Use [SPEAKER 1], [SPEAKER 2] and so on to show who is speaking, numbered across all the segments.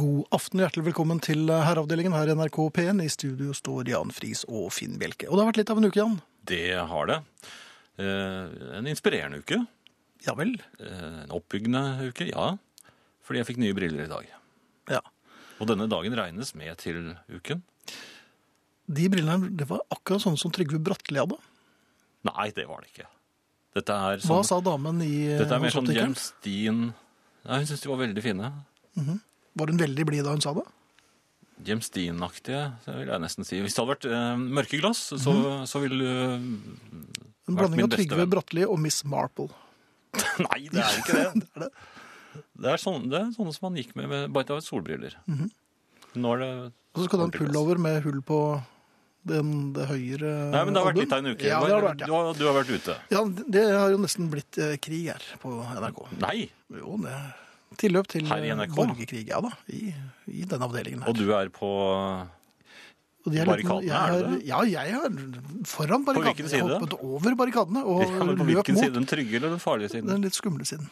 [SPEAKER 1] God aften og hjertelig velkommen til eh, Herreavdelingen her i NRK P1. I studio står Jan Friis og Finn Bjelke. Og det har vært litt av en uke, Jan.
[SPEAKER 2] Det har det. Eh, en inspirerende uke.
[SPEAKER 1] Ja vel.
[SPEAKER 2] Eh, en oppbyggende uke, ja. Fordi jeg fikk nye briller i dag.
[SPEAKER 1] Ja.
[SPEAKER 2] Og denne dagen regnes med til uken.
[SPEAKER 1] De brillene det var akkurat sånne som Trygve Bratteli hadde.
[SPEAKER 2] Nei, det var det ikke. Dette er,
[SPEAKER 1] Hva
[SPEAKER 2] sånn,
[SPEAKER 1] sa damen i eh,
[SPEAKER 2] dette er mer
[SPEAKER 1] hos
[SPEAKER 2] sånn
[SPEAKER 1] optikeren?
[SPEAKER 2] James Dean Nei, Hun syntes de var veldig fine.
[SPEAKER 1] Var hun veldig blid da hun sa det?
[SPEAKER 2] James Dean-aktige, så vil jeg nesten si. Hvis det hadde vært eh, mørke glass, så,
[SPEAKER 1] Mhm.
[SPEAKER 2] så ville du
[SPEAKER 1] En
[SPEAKER 2] Vært
[SPEAKER 1] blanding
[SPEAKER 2] min
[SPEAKER 1] av
[SPEAKER 2] beste
[SPEAKER 1] Trygve
[SPEAKER 2] venn.
[SPEAKER 1] Bratteli og Miss Marple.
[SPEAKER 2] Nei, det er ikke det.
[SPEAKER 1] er det.
[SPEAKER 2] Det er, sånne, det er sånne som man gikk med, med bare av solbriller. Nå er det
[SPEAKER 1] Mhm.
[SPEAKER 2] altså.
[SPEAKER 1] Og så skal du ha en
[SPEAKER 2] ordentlig glass.
[SPEAKER 1] pullover med hull på den, det høyre
[SPEAKER 2] Nei, men det har vært
[SPEAKER 1] albuen.
[SPEAKER 2] litt av en uke.
[SPEAKER 1] Ja, det har det vært,
[SPEAKER 2] du,
[SPEAKER 1] ja.
[SPEAKER 2] har, du har vært ute.
[SPEAKER 1] ja. Det har jo nesten blitt eh, krig her på NRK.
[SPEAKER 2] Nei!
[SPEAKER 1] Jo, det er tilløp til
[SPEAKER 2] Her i
[SPEAKER 1] eh,
[SPEAKER 2] NRK?
[SPEAKER 1] borgerkrig, ja da. I, i denne avdelingen her.
[SPEAKER 2] Og du er på
[SPEAKER 1] Og de er litt-
[SPEAKER 2] Barrikadene,
[SPEAKER 1] jeg
[SPEAKER 2] er det det?
[SPEAKER 1] Ja, jeg er foran barrikadene.
[SPEAKER 2] hvilken side?
[SPEAKER 1] Jeg hoppet over barrikadene og
[SPEAKER 2] ja, men På
[SPEAKER 1] løp
[SPEAKER 2] hvilken
[SPEAKER 1] mot
[SPEAKER 2] side? Den trygge eller den farlige siden?
[SPEAKER 1] den litt skumle siden.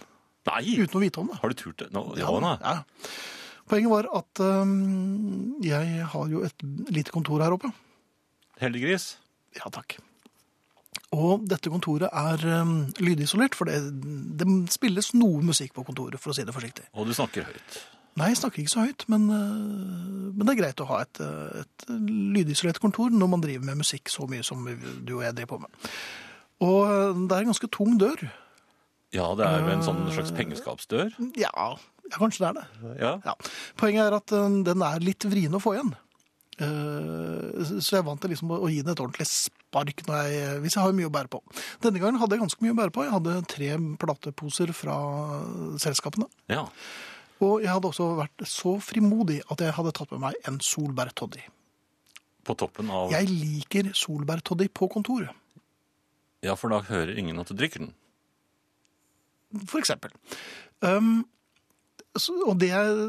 [SPEAKER 2] Nei!
[SPEAKER 1] Uten å vite om det.
[SPEAKER 2] Har du turt det? Nå, ja, nei.
[SPEAKER 1] Ja. Poenget var at øhm, jeg har jo et lite kontor her oppe.
[SPEAKER 2] Heldiggris?
[SPEAKER 1] Ja, takk. Og dette kontoret er øhm, lydisolert, for det, det spilles noe musikk på kontoret, for å si det forsiktig.
[SPEAKER 2] Og du snakker høyt.
[SPEAKER 1] Nei, jeg snakker ikke så høyt, men, øh, men det er greit å ha et, øh, et lydisolert kontor når man driver med musikk så mye som du og jeg driver på med. Og øh, det er en ganske tung dør.
[SPEAKER 2] Ja, det er jo en sånn
[SPEAKER 1] Eh.
[SPEAKER 2] slags pengeskapsdør.
[SPEAKER 1] Ja, ja kanskje det er det.
[SPEAKER 2] Ja.
[SPEAKER 1] Ja. Poenget er at øh, den er litt vrien å få igjen. Eh, Så jeg er vant til liksom å å gi den et ordentlig spark når jeg, hvis jeg har mye å bære på. Denne gangen hadde jeg ganske mye å bære på. Jeg hadde tre plateposer fra øh, selskapene.
[SPEAKER 2] ja.
[SPEAKER 1] Og jeg hadde også vært så frimodig at jeg hadde tatt med meg en solbærtoddy.
[SPEAKER 2] På toppen av
[SPEAKER 1] Jeg liker solbærtoddy på kontoret,
[SPEAKER 2] Ja, for da hører ingen at du drikker den.
[SPEAKER 1] for eksempel. Um, så, og det jeg,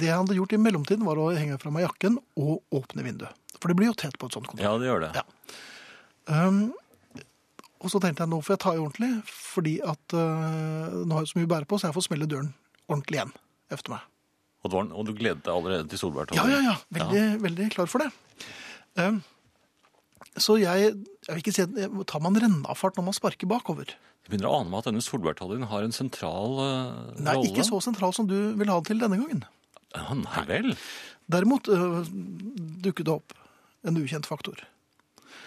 [SPEAKER 1] det jeg hadde gjort i mellomtiden var å henge fra meg jakken og åpne vinduet. For det blir jo tett på et sånt kontor.
[SPEAKER 2] Ja, det gjør det.
[SPEAKER 1] Ja. Um, og så tenkte jeg nå får jeg ta i ordentlig, fordi at uh, nå har jeg så mye å bære på, så jeg får smelle døren ordentlig igjen efter meg.
[SPEAKER 2] Og, det var, og du gledet deg allerede til solbærtårnet?
[SPEAKER 1] Ja, ja, ja. Veldig, veldig klar for det. Um, så jeg, jeg vil ikke si at Tar man rennafart når man sparker bakover?
[SPEAKER 2] Jeg begynner å ane meg at denne solbærtoljen har en sentral eh,
[SPEAKER 1] Nei,
[SPEAKER 2] rolle.
[SPEAKER 1] ikke så sentral som du vil ha det til denne gangen.
[SPEAKER 2] Ja, nei vel.
[SPEAKER 1] Derimot øh, dukket det opp en ukjent faktor.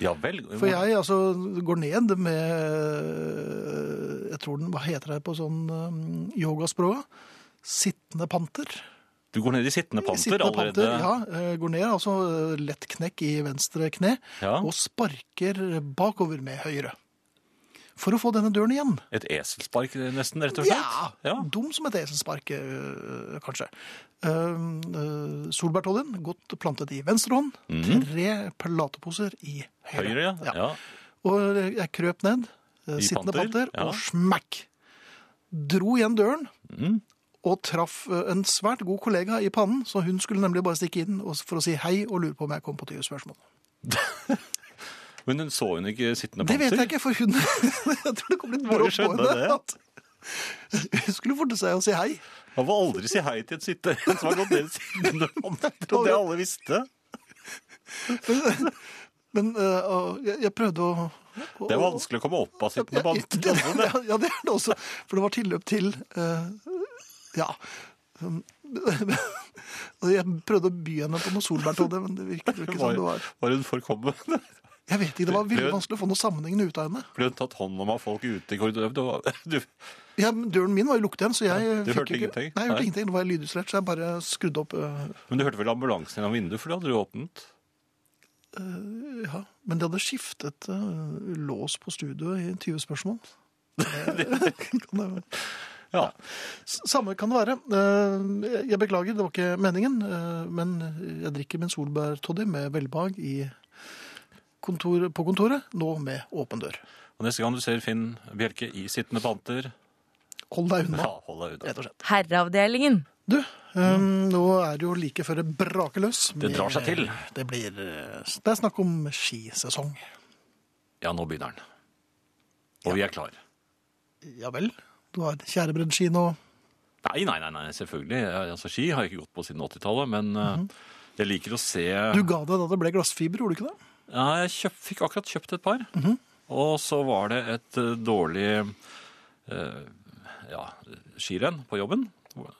[SPEAKER 2] Ja vel.
[SPEAKER 1] For jeg altså, går ned med øh, Jeg tror den Hva heter det på sånn øh, yogaspråket? Sittende panter.
[SPEAKER 2] Du går ned i sittende panter
[SPEAKER 1] Sittende
[SPEAKER 2] allerede.
[SPEAKER 1] panter, ja. øh, Går ned, altså øh, lett knekk i venstre kne.
[SPEAKER 2] Ja.
[SPEAKER 1] og sparker bakover med høyre. For å få denne døren igjen.
[SPEAKER 2] Et eselspark nesten, rett og slett?
[SPEAKER 1] Dum som et eselspark, øh, kanskje. Uh, uh, Solbærtoljen, godt plantet i venstre hånd. Tre plateposer i høyre.
[SPEAKER 2] Mhm. Høyre, ja. ja.
[SPEAKER 1] Og eh, jeg krøp ned, øh,
[SPEAKER 2] I
[SPEAKER 1] sittende
[SPEAKER 2] panter,
[SPEAKER 1] panter,
[SPEAKER 2] ja.
[SPEAKER 1] og smekk! Dro igjen døren.
[SPEAKER 2] Mhm.
[SPEAKER 1] Og traff øh, en svært god kollega i pannen, så hun skulle nemlig bare stikke inn og- for å si hei og lure på om jeg kom på 20 spørsmål.
[SPEAKER 2] Men hun så hun ikke sittende
[SPEAKER 1] Det
[SPEAKER 2] panter?
[SPEAKER 1] vet jeg ikke, for hun Jeg tror det kom litt
[SPEAKER 2] Bare
[SPEAKER 1] brått på
[SPEAKER 2] skjønne
[SPEAKER 1] henne. At hun skulle forte seg å si hei.
[SPEAKER 2] Han må aldri si hei til et sitte en som har gått ned i sittende panter, og det alle visste.
[SPEAKER 1] Men øh, og jeg, jeg prøvde å, å
[SPEAKER 2] Det er vanskelig altså, å komme opp av sittende panter.
[SPEAKER 1] Ja, ja, ja, det er det også. For det var tilløp til øh, Ja. Um, og jeg prøvde å by henne på noe solbærtodde, men det virket jo ikke sånn
[SPEAKER 2] Var,
[SPEAKER 1] det var.
[SPEAKER 2] var hun forkommen?
[SPEAKER 1] Jeg vet ikke, Det var veldig vanskelig å få noe sammenhengende ut av henne.
[SPEAKER 2] Ble hun tatt hånd om av folk ute i korridoren? Du var- Du,
[SPEAKER 1] Ja, men Døren min var jo lukket igjen, så jeg
[SPEAKER 2] du
[SPEAKER 1] fikk
[SPEAKER 2] hørte
[SPEAKER 1] jo ikke-
[SPEAKER 2] ingenting?
[SPEAKER 1] Nei, jeg hørte
[SPEAKER 2] Nei.
[SPEAKER 1] ingenting. Det var lydisolert, så jeg bare skrudde opp. øh,
[SPEAKER 2] men du hørte vel ambulansen gjennom vinduet, for det hadde du åpnet?
[SPEAKER 1] eh, Ja, men de hadde skiftet eh, lås på studioet i 20 spørsmål. Kan det være?
[SPEAKER 2] Ja.
[SPEAKER 1] S- Samme kan det være. Eh, jeg- Jeg beklager, det var ikke meningen, eh, men jeg drikker min solbærtoddy med velbehag i kontor, på kontoret, nå med åpen dør.
[SPEAKER 2] Og neste gang du ser Finn Bjelke i sittende panter,
[SPEAKER 1] Hold deg unna,
[SPEAKER 2] ja, hold deg
[SPEAKER 1] rett og
[SPEAKER 2] unna.
[SPEAKER 1] slett.
[SPEAKER 3] Herreavdelingen.
[SPEAKER 1] Du, eh, nå er det jo like før det braker løs.
[SPEAKER 2] Mm. Det drar seg til.
[SPEAKER 1] Det blir eh, Det er snakk om skisesong.
[SPEAKER 2] Ja, nå begynner den. Og vi er klar.
[SPEAKER 1] Ja vel. Du har tjærebreddski nå.
[SPEAKER 2] Nei, nei, nei, nei selvfølgelig. Jeg- Altså, ski har jeg ikke gått på siden 80-tallet, men eh, jeg liker å se
[SPEAKER 1] Mhm. Du ga det da det ble glassfiber, gjorde du ikke det?
[SPEAKER 2] Ja, jeg kjøp, fikk akkurat kjøpt et par,
[SPEAKER 1] Mhm.
[SPEAKER 2] og så var det et eh, dårlig eh, ja, skirenn på jobben.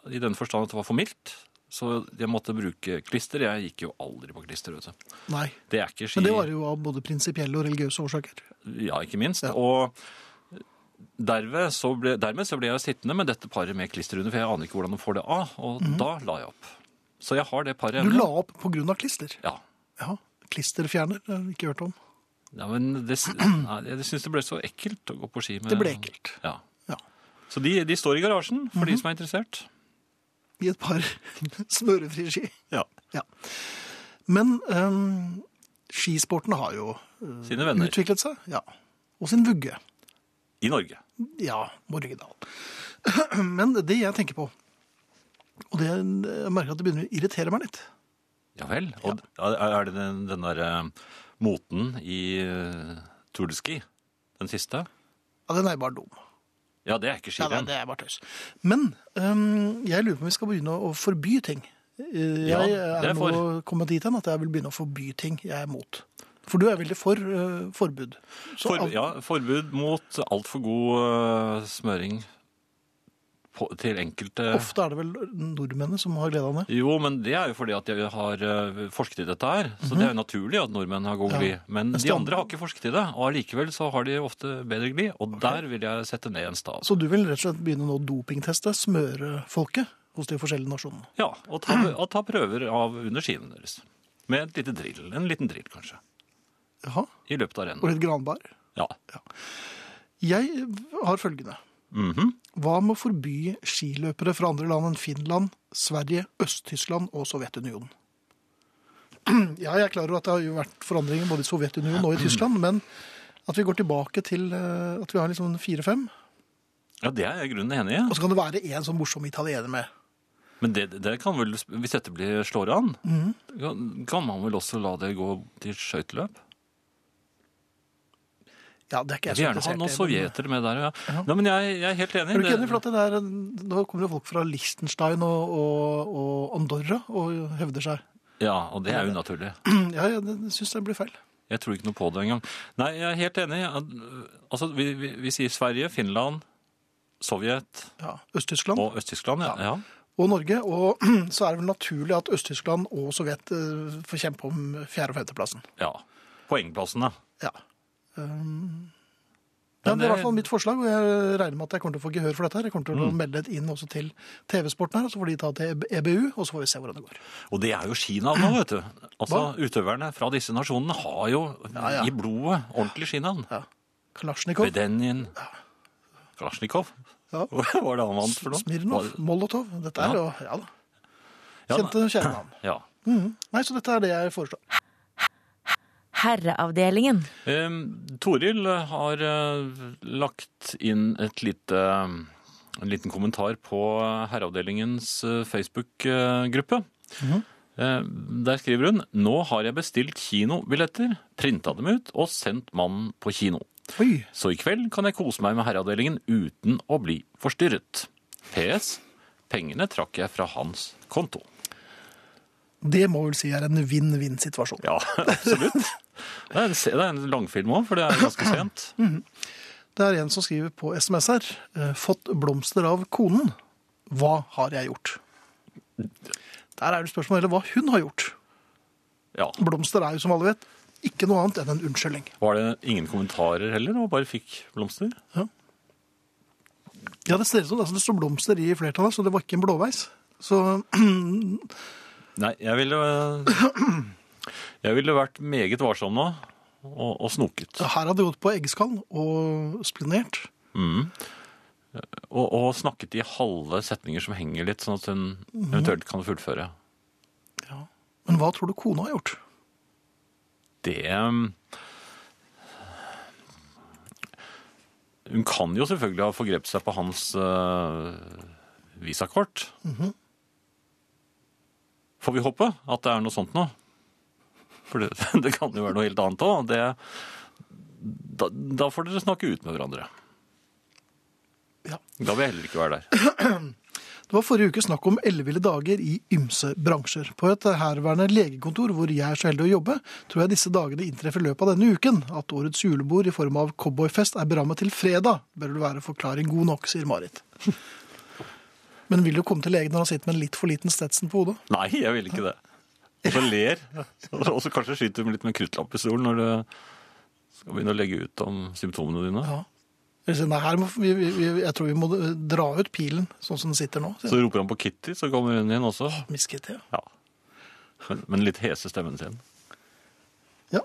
[SPEAKER 2] I den forstand at det var for mildt, så jeg måtte bruke klister. Jeg gikk jo aldri på klister, vet du.
[SPEAKER 1] Nei.
[SPEAKER 2] Det er ikke ski...
[SPEAKER 1] Men det var jo av både prinsipielle og religiøse årsaker.
[SPEAKER 2] Ja, ikke minst.
[SPEAKER 1] Ja.
[SPEAKER 2] Og derved så ble, dermed så ble jeg sittende med dette paret med klister under, for jeg aner ikke hvordan de får det av. Og da la jeg opp. Så jeg har det paret
[SPEAKER 1] Mhm. Du
[SPEAKER 2] hjemme.
[SPEAKER 1] la opp på grunn av klister.
[SPEAKER 2] Ja.
[SPEAKER 1] Ja, klisterfjerner, det har vi ikke hørt om.
[SPEAKER 2] ja, men det, nei, jeg syns det ble så ekkelt å gå på ski med
[SPEAKER 1] Det ble ekkelt. Mhm.
[SPEAKER 2] Ja.
[SPEAKER 1] Ja.
[SPEAKER 2] Så de, de står i garasjen, for de som er interessert.
[SPEAKER 1] I et par smørefrie ski.
[SPEAKER 2] Ja.
[SPEAKER 1] Ja. Men øhm, skisporten har jo øh,
[SPEAKER 2] Sine venner.
[SPEAKER 1] utviklet seg. Ja. Og sin vugge.
[SPEAKER 2] I Norge.
[SPEAKER 1] Ja, Morgedal. Men det jeg tenker på, og det jeg merker at det begynner å irritere meg litt
[SPEAKER 2] Ja vel. Og er er det den, den der eh, moten i eh, Tour de Ski? Den siste?
[SPEAKER 1] Ja, den er bare dum.
[SPEAKER 2] Ja, det er ikke
[SPEAKER 1] Ja,
[SPEAKER 2] skirenn.
[SPEAKER 1] det er bare tøys. Men øhm, jeg lurer på om vi skal begynne å forby ting. Eh,
[SPEAKER 2] Ja,
[SPEAKER 1] Jeg er
[SPEAKER 2] det er
[SPEAKER 1] nå
[SPEAKER 2] for.
[SPEAKER 1] kommet dit hen at jeg vil begynne å forby ting jeg er imot. For du er veldig for øh, forbud. Så
[SPEAKER 2] For,
[SPEAKER 1] alt-
[SPEAKER 2] ja, forbud mot altfor god øh, smøring på, til enkelte
[SPEAKER 1] Ofte er det vel nordmennene som har glede av det.
[SPEAKER 2] Jo, men det er jo fordi at jeg har øh, forsket i dette her. Så det er jo naturlig at nordmenn har
[SPEAKER 1] Mhm.
[SPEAKER 2] god
[SPEAKER 1] Ja.
[SPEAKER 2] glid. Men
[SPEAKER 1] Mens
[SPEAKER 2] de
[SPEAKER 1] de
[SPEAKER 2] andre har ikke forsket i det. Og allikevel så har de ofte bedre glid. Og der vil jeg sette ned en stav.
[SPEAKER 1] Så du vil rett og slett begynne nå å dopingteste smørefolket hos de forskjellige nasjonene?
[SPEAKER 2] Ja, og ta, og ta prøver av under skiene deres. Med et lite drill. En liten drill, kanskje.
[SPEAKER 1] Jaha,
[SPEAKER 2] I løpet av
[SPEAKER 1] og
[SPEAKER 2] rennet.
[SPEAKER 1] litt granbar.
[SPEAKER 2] Ja.
[SPEAKER 1] Jeg har følgende.
[SPEAKER 2] Mhm.
[SPEAKER 1] Hva med å forby skiløpere fra andre land enn Finland, Sverige, Øst-Tyskland og Sovjetunionen? Ja, jeg er klar over at det har jo vært forandringer både i Sovjetunionen og i Tyskland, men at vi går tilbake til eh, at vi har liksom fire-fem,
[SPEAKER 2] ja, det er jeg i grunnen enig i.
[SPEAKER 1] og så kan det være én sånn morsom italiener med.
[SPEAKER 2] Men det, det kan vel, hvis dette blir slår an,
[SPEAKER 1] Mhm.
[SPEAKER 2] kan, kan man vel også la det gå til skøyteløp?
[SPEAKER 1] Ja, det er ikke
[SPEAKER 2] Jeg
[SPEAKER 1] jeg
[SPEAKER 2] vil
[SPEAKER 1] så
[SPEAKER 2] gjerne
[SPEAKER 1] interessert
[SPEAKER 2] ha sånn noen
[SPEAKER 1] i, men-
[SPEAKER 2] sovjetere med der. Ja. Nei, men jeg, jeg er helt enig.
[SPEAKER 1] Er du ikke enig for at
[SPEAKER 2] Det-
[SPEAKER 1] det der, Nå kommer det folk fra Liechtenstein og, og, og Andorra og hevder seg.
[SPEAKER 2] Ja, og det er unaturlig.
[SPEAKER 1] Ja, jeg syns det blir feil.
[SPEAKER 2] Jeg tror ikke noe på det engang. Nei, jeg er helt enig. Altså, vi, vi, vi sier Sverige, Finland, Sovjet
[SPEAKER 1] Ja, Øst-Tyskland og,
[SPEAKER 2] og Øst-Tyskland. Ja. Ja.
[SPEAKER 1] Norge. Og så er det vel naturlig at Øst-Tyskland og Sovjet eh, får kjempe om fjerde- og femteplassen.
[SPEAKER 2] ja. Poengplassene.
[SPEAKER 1] Ja. Um, ja, det er i hvert fall mitt forslag, og jeg regner med at jeg kommer til å få gehør for dette. her. Jeg kommer til å melde det inn også til TV-sporten her, og så får de ta til E- EBU, og så får vi se hvordan det går.
[SPEAKER 2] Og det er jo skinavn nå, vet du. Altså, Utøverne fra disse nasjonene har jo
[SPEAKER 1] ja.
[SPEAKER 2] i blodet ordentlig skinavn.
[SPEAKER 1] Ja. Kalasjnikov,
[SPEAKER 2] Bedenin Kalasjnikov.
[SPEAKER 1] Ja.
[SPEAKER 2] Hva var det han vant for noe?
[SPEAKER 1] Smirnov, Molotov. Dette er jo Ja da.
[SPEAKER 2] Ja,
[SPEAKER 1] Kjente kjernenavn.
[SPEAKER 2] Ja.
[SPEAKER 1] Nei, så dette er det jeg foreslår.
[SPEAKER 3] Herreavdelingen.
[SPEAKER 2] Em, Toril har eh, lagt inn et lite, en liten kommentar på Herreavdelingens eh, Facebook-gruppe. Eh, Der skriver hun Nå har jeg bestilt kinobilletter, printa dem ut og sendt mannen på kino.
[SPEAKER 1] Oi,
[SPEAKER 2] Så i kveld kan jeg kose meg med Herreavdelingen uten å bli forstyrret. PS. Pengene trakk jeg fra hans konto.
[SPEAKER 1] det må vel si er en vinn-vinn-situasjon.
[SPEAKER 2] Ja, absolutt. Det er en, det er en langfilm òg, for det er ganske sent.
[SPEAKER 1] Det er en som skriver på SMS her, eh, fått blomster av konen. Hva har jeg gjort? Der er det spørsmålet, eller hva hun har gjort.
[SPEAKER 2] Ja.
[SPEAKER 1] Blomster er jo, som alle vet, ikke noe annet enn en unnskyldning.
[SPEAKER 2] Var det ingen kommentarer heller, og bare fikk blomster?
[SPEAKER 1] Ja, det ser ut som altså, det står blomster i flertallet, så det var ikke en blåveis. Så
[SPEAKER 2] Nei, jeg ville Jeg ville vært meget varsom nå, og, og snoket.
[SPEAKER 1] her hadde det gått på eggeskall og splinert.
[SPEAKER 2] Og, og snakket i halve setninger som henger litt, sånn at hun eventuelt kan fullføre.
[SPEAKER 1] Men hva tror du kona har gjort?
[SPEAKER 2] Det um, Hun kan jo selvfølgelig ha forgrepet seg på hans uh, visakort. Får vi håpe at det er noe sånt nå? For det, det kan jo være noe helt annet òg. Da, da får dere snakke ut med hverandre.
[SPEAKER 1] Ja.
[SPEAKER 2] Da vil jeg heller ikke være der.
[SPEAKER 1] Det var forrige uke snakk om elleville dager i ymse bransjer. På et herværende legekontor hvor jeg er så heldig å jobbe, tror jeg disse dagene inntreffer i løpet av denne uken. At årets julebord i form av cowboyfest er berammet til fredag, bør vel være forklaring god nok, sier Marit. Men vil jo komme til legen når han sitter med en litt for liten Stetson på hodet.
[SPEAKER 2] Nei, jeg vil ikke det. Og så ler. Og så kanskje skyter du litt med kruttlappistolen når du skal begynne å legge ut om symptomene dine.
[SPEAKER 1] Ja. Jeg, sier, nei, her må, vi, vi, vi- jeg tror vi må eh, dra ut pilen sånn som den sitter nå. sier jeg.
[SPEAKER 2] Så roper han på Kitty, så kommer hun inn også.
[SPEAKER 1] Misket, ja.
[SPEAKER 2] Ja. Men, men litt hese stemmen sin.
[SPEAKER 1] ja.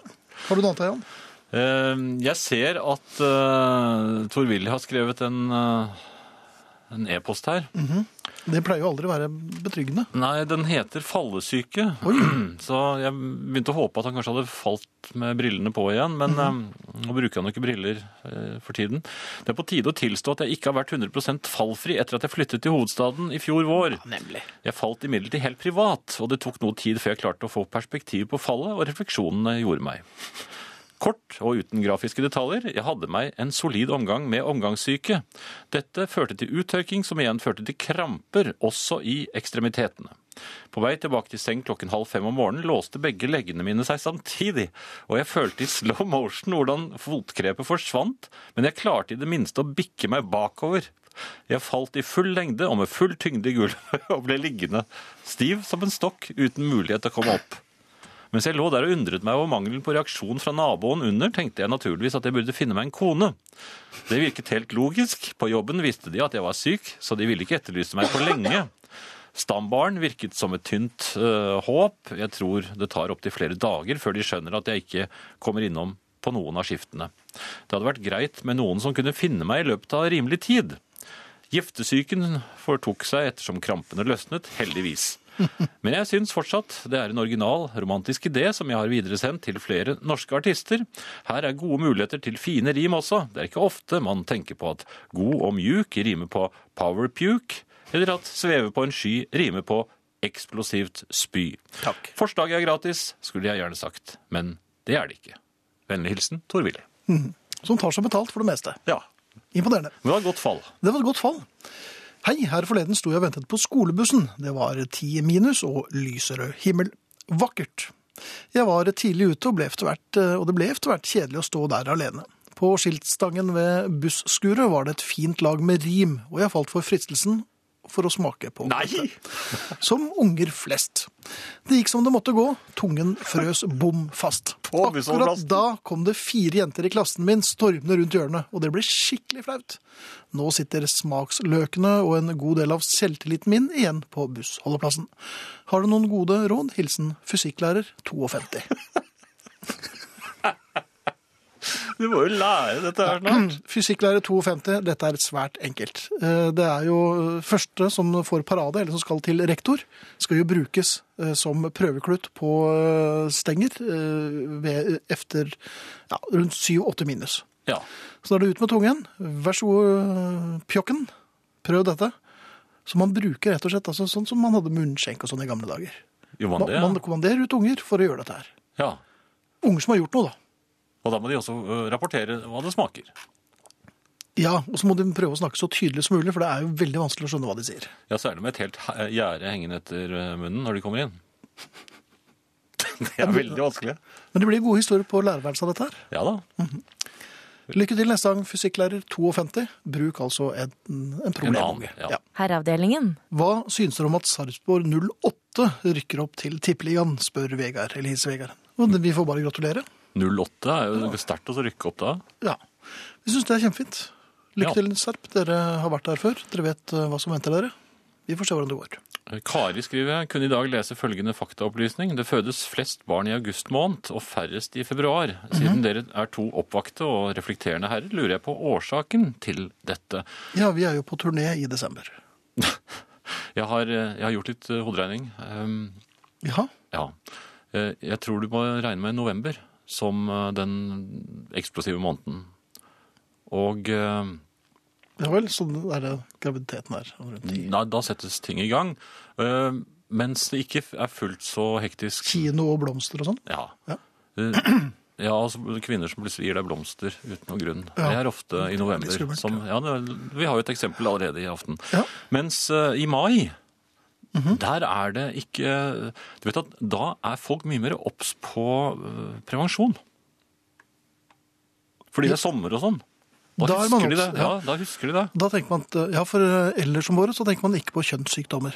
[SPEAKER 1] Har du noe annet, Jan?
[SPEAKER 2] Eh, Jeg ser at uh, Tor Willy har skrevet en eh, en e-post her.
[SPEAKER 1] Det pleier jo aldri å være betryggende.
[SPEAKER 2] Nei, den heter fallesyke. Så jeg begynte å håpe at han kanskje hadde falt med brillene på igjen, men eh, nå bruker han jo ikke briller eh, for tiden. Det er på tide å tilstå at jeg ikke har vært 100 fallfri etter at jeg flyttet til hovedstaden i fjor vår.
[SPEAKER 1] Nemlig.
[SPEAKER 2] Jeg falt imidlertid helt privat, og det tok noe tid før jeg klarte å få perspektiv på fallet og refleksjonene gjorde meg. Kort og uten grafiske detaljer, jeg hadde meg en solid omgang med omgangssyke. Dette førte til uttørking, som igjen førte til kramper, også i ekstremitetene. På vei tilbake til seng klokken halv fem om morgenen låste begge leggene mine seg samtidig, og jeg følte i slow motion hvordan fotkrepet forsvant, men jeg klarte i det minste å bikke meg bakover. Jeg falt i full lengde og med full tyngde i gulvet og ble liggende stiv som en stokk uten mulighet til å komme opp. Mens jeg lå der og undret meg over mangelen på reaksjon fra naboen under, tenkte jeg naturligvis at jeg burde finne meg en kone. Det virket helt logisk. På jobben visste de at jeg var syk, så de ville ikke etterlyse meg for lenge. Stambaren virket som et tynt øh, håp. Jeg tror det tar opptil flere dager før de skjønner at jeg ikke kommer innom på noen av skiftene. Det hadde vært greit med noen som kunne finne meg i løpet av rimelig tid. Giftesyken fortok seg ettersom krampene løsnet, heldigvis. Men jeg syns fortsatt det er en original, romantisk idé som jeg har videresendt til flere norske artister. Her er gode muligheter til fine rim også. Det er ikke ofte man tenker på at god og mjuk rimer på power puke, eller at sveve på en sky rimer på eksplosivt spy.
[SPEAKER 1] Takk.
[SPEAKER 2] Forslaget er gratis, skulle jeg gjerne sagt, men det er det ikke. Vennlig hilsen Tor Willy.
[SPEAKER 1] Som Sånn tar seg betalt for det meste.
[SPEAKER 2] Ja,
[SPEAKER 1] Imponerende.
[SPEAKER 2] men det var et godt fall.
[SPEAKER 1] Det var et godt fall. Hei, her forleden sto jeg og ventet på skolebussen. Det var ti minus og lyserød himmel. Vakkert. Jeg var tidlig ute, og, ble etter hvert, eh, og det ble etter hvert kjedelig å stå der alene. På skiltstangen ved busskuret var det et fint lag med rim, og jeg falt for fristelsen for å smake på
[SPEAKER 2] Nei!
[SPEAKER 1] som unger flest. Det gikk som det måtte gå, tungen frøs bom fast.
[SPEAKER 2] På
[SPEAKER 1] Akkurat
[SPEAKER 2] bussholdeplassen.
[SPEAKER 1] da kom det fire jenter i klassen min stormende rundt hjørnet, og det ble skikkelig flaut. Nå sitter smaksløkene og en god del av selvtilliten min igjen på bussholdeplassen. Har du noen gode råd? Hilsen fysikklærer 52.
[SPEAKER 2] Du må jo lære dette her snart.
[SPEAKER 1] Fysikklærer 52, dette er svært enkelt. Eh, Det er jo første som får parade, eller som skal til rektor, skal jo brukes eh, som prøveklutt på eh, stenger eh, ved, efter ja, rundt 7-8 minus.
[SPEAKER 2] Ja.
[SPEAKER 1] Så da er det ut med tungen. Vær så god, eh, pjokken. Prøv dette. Så man bruker rett og slett altså, sånn som man hadde munnskjenk og sånn i gamle dager.
[SPEAKER 2] Gjorde man
[SPEAKER 1] Man,
[SPEAKER 2] det?
[SPEAKER 1] man
[SPEAKER 2] ja?
[SPEAKER 1] kommanderer ut unger for å gjøre dette her.
[SPEAKER 2] Ja.
[SPEAKER 1] Unger som har gjort noe, da.
[SPEAKER 2] Og da må de også øh, rapportere hva det smaker.
[SPEAKER 1] Ja, og så må de prøve å snakke så tydelig som mulig, for det er jo veldig vanskelig å skjønne hva de sier.
[SPEAKER 2] Ja, særlig med et helt he- gjerde hengende etter øh, munnen når de kommer inn. Det er veldig vanskelig.
[SPEAKER 1] Men det blir gode historier på lærerværelset av dette her.
[SPEAKER 2] Ja da.
[SPEAKER 1] Lykke til neste gang, fysikklærer 52. Bruk altså en, en problemunge.
[SPEAKER 2] En annen, ja.
[SPEAKER 3] Herreavdelingen.
[SPEAKER 1] Hva synes dere om at Sarpsborg 08 rykker opp til Tippeligaen, spør Vegard, eller hilser Vegard. Og det- vi får bare gratulere.
[SPEAKER 2] 08 er jo sterkt å rykke opp da.
[SPEAKER 1] Ja. Vi syns det er kjempefint. Lykke
[SPEAKER 2] Ja.
[SPEAKER 1] til, Sarp. Dere har vært der før. Dere vet eh, hva som venter dere. Vi får se hvordan det går.
[SPEAKER 2] Kari skriver jeg kunne i dag lese følgende faktaopplysning. Det fødes flest barn i august måned og færrest i februar. Siden dere er to oppvakte og reflekterende herrer, lurer jeg på årsaken til dette.
[SPEAKER 1] Ja, vi er jo på turné i desember.
[SPEAKER 2] Jeg har, eh, jeg har gjort litt eh, hoderegning. Um,
[SPEAKER 1] Ja.
[SPEAKER 2] Ja. Eh, Jeg tror du må regne med november som eh, den eksplosive måneden. Og eh,
[SPEAKER 1] Ja vel, så er det graviditeten her. rundt i.
[SPEAKER 2] da, da settes ting i gang. Eh, Mens det ikke er fullt så hektisk
[SPEAKER 1] Kino og blomster og sånn.
[SPEAKER 2] Ja.
[SPEAKER 1] Ja.
[SPEAKER 2] Eh, Ja, altså kvinner som plutselig gir deg blomster uten noen grunn.
[SPEAKER 1] Ja.
[SPEAKER 2] Det er ofte i november.
[SPEAKER 1] skummelt,
[SPEAKER 2] Som, ja, det, vi har jo et eksempel allerede i aften.
[SPEAKER 1] Ja. Mhm.
[SPEAKER 2] Mens eh, i mai, der er det ikke Du vet at da er folk mye mer obs på eh, prevensjon. Fordi det er sommer og sånn. Da,
[SPEAKER 1] Da er man
[SPEAKER 2] husker de
[SPEAKER 1] obs,
[SPEAKER 2] det.
[SPEAKER 1] ja.
[SPEAKER 2] Ja, da husker de det.
[SPEAKER 1] Da tenker man at, eh, ja, for eh, ellers om året så tenker man ikke på kjønnssykdommer.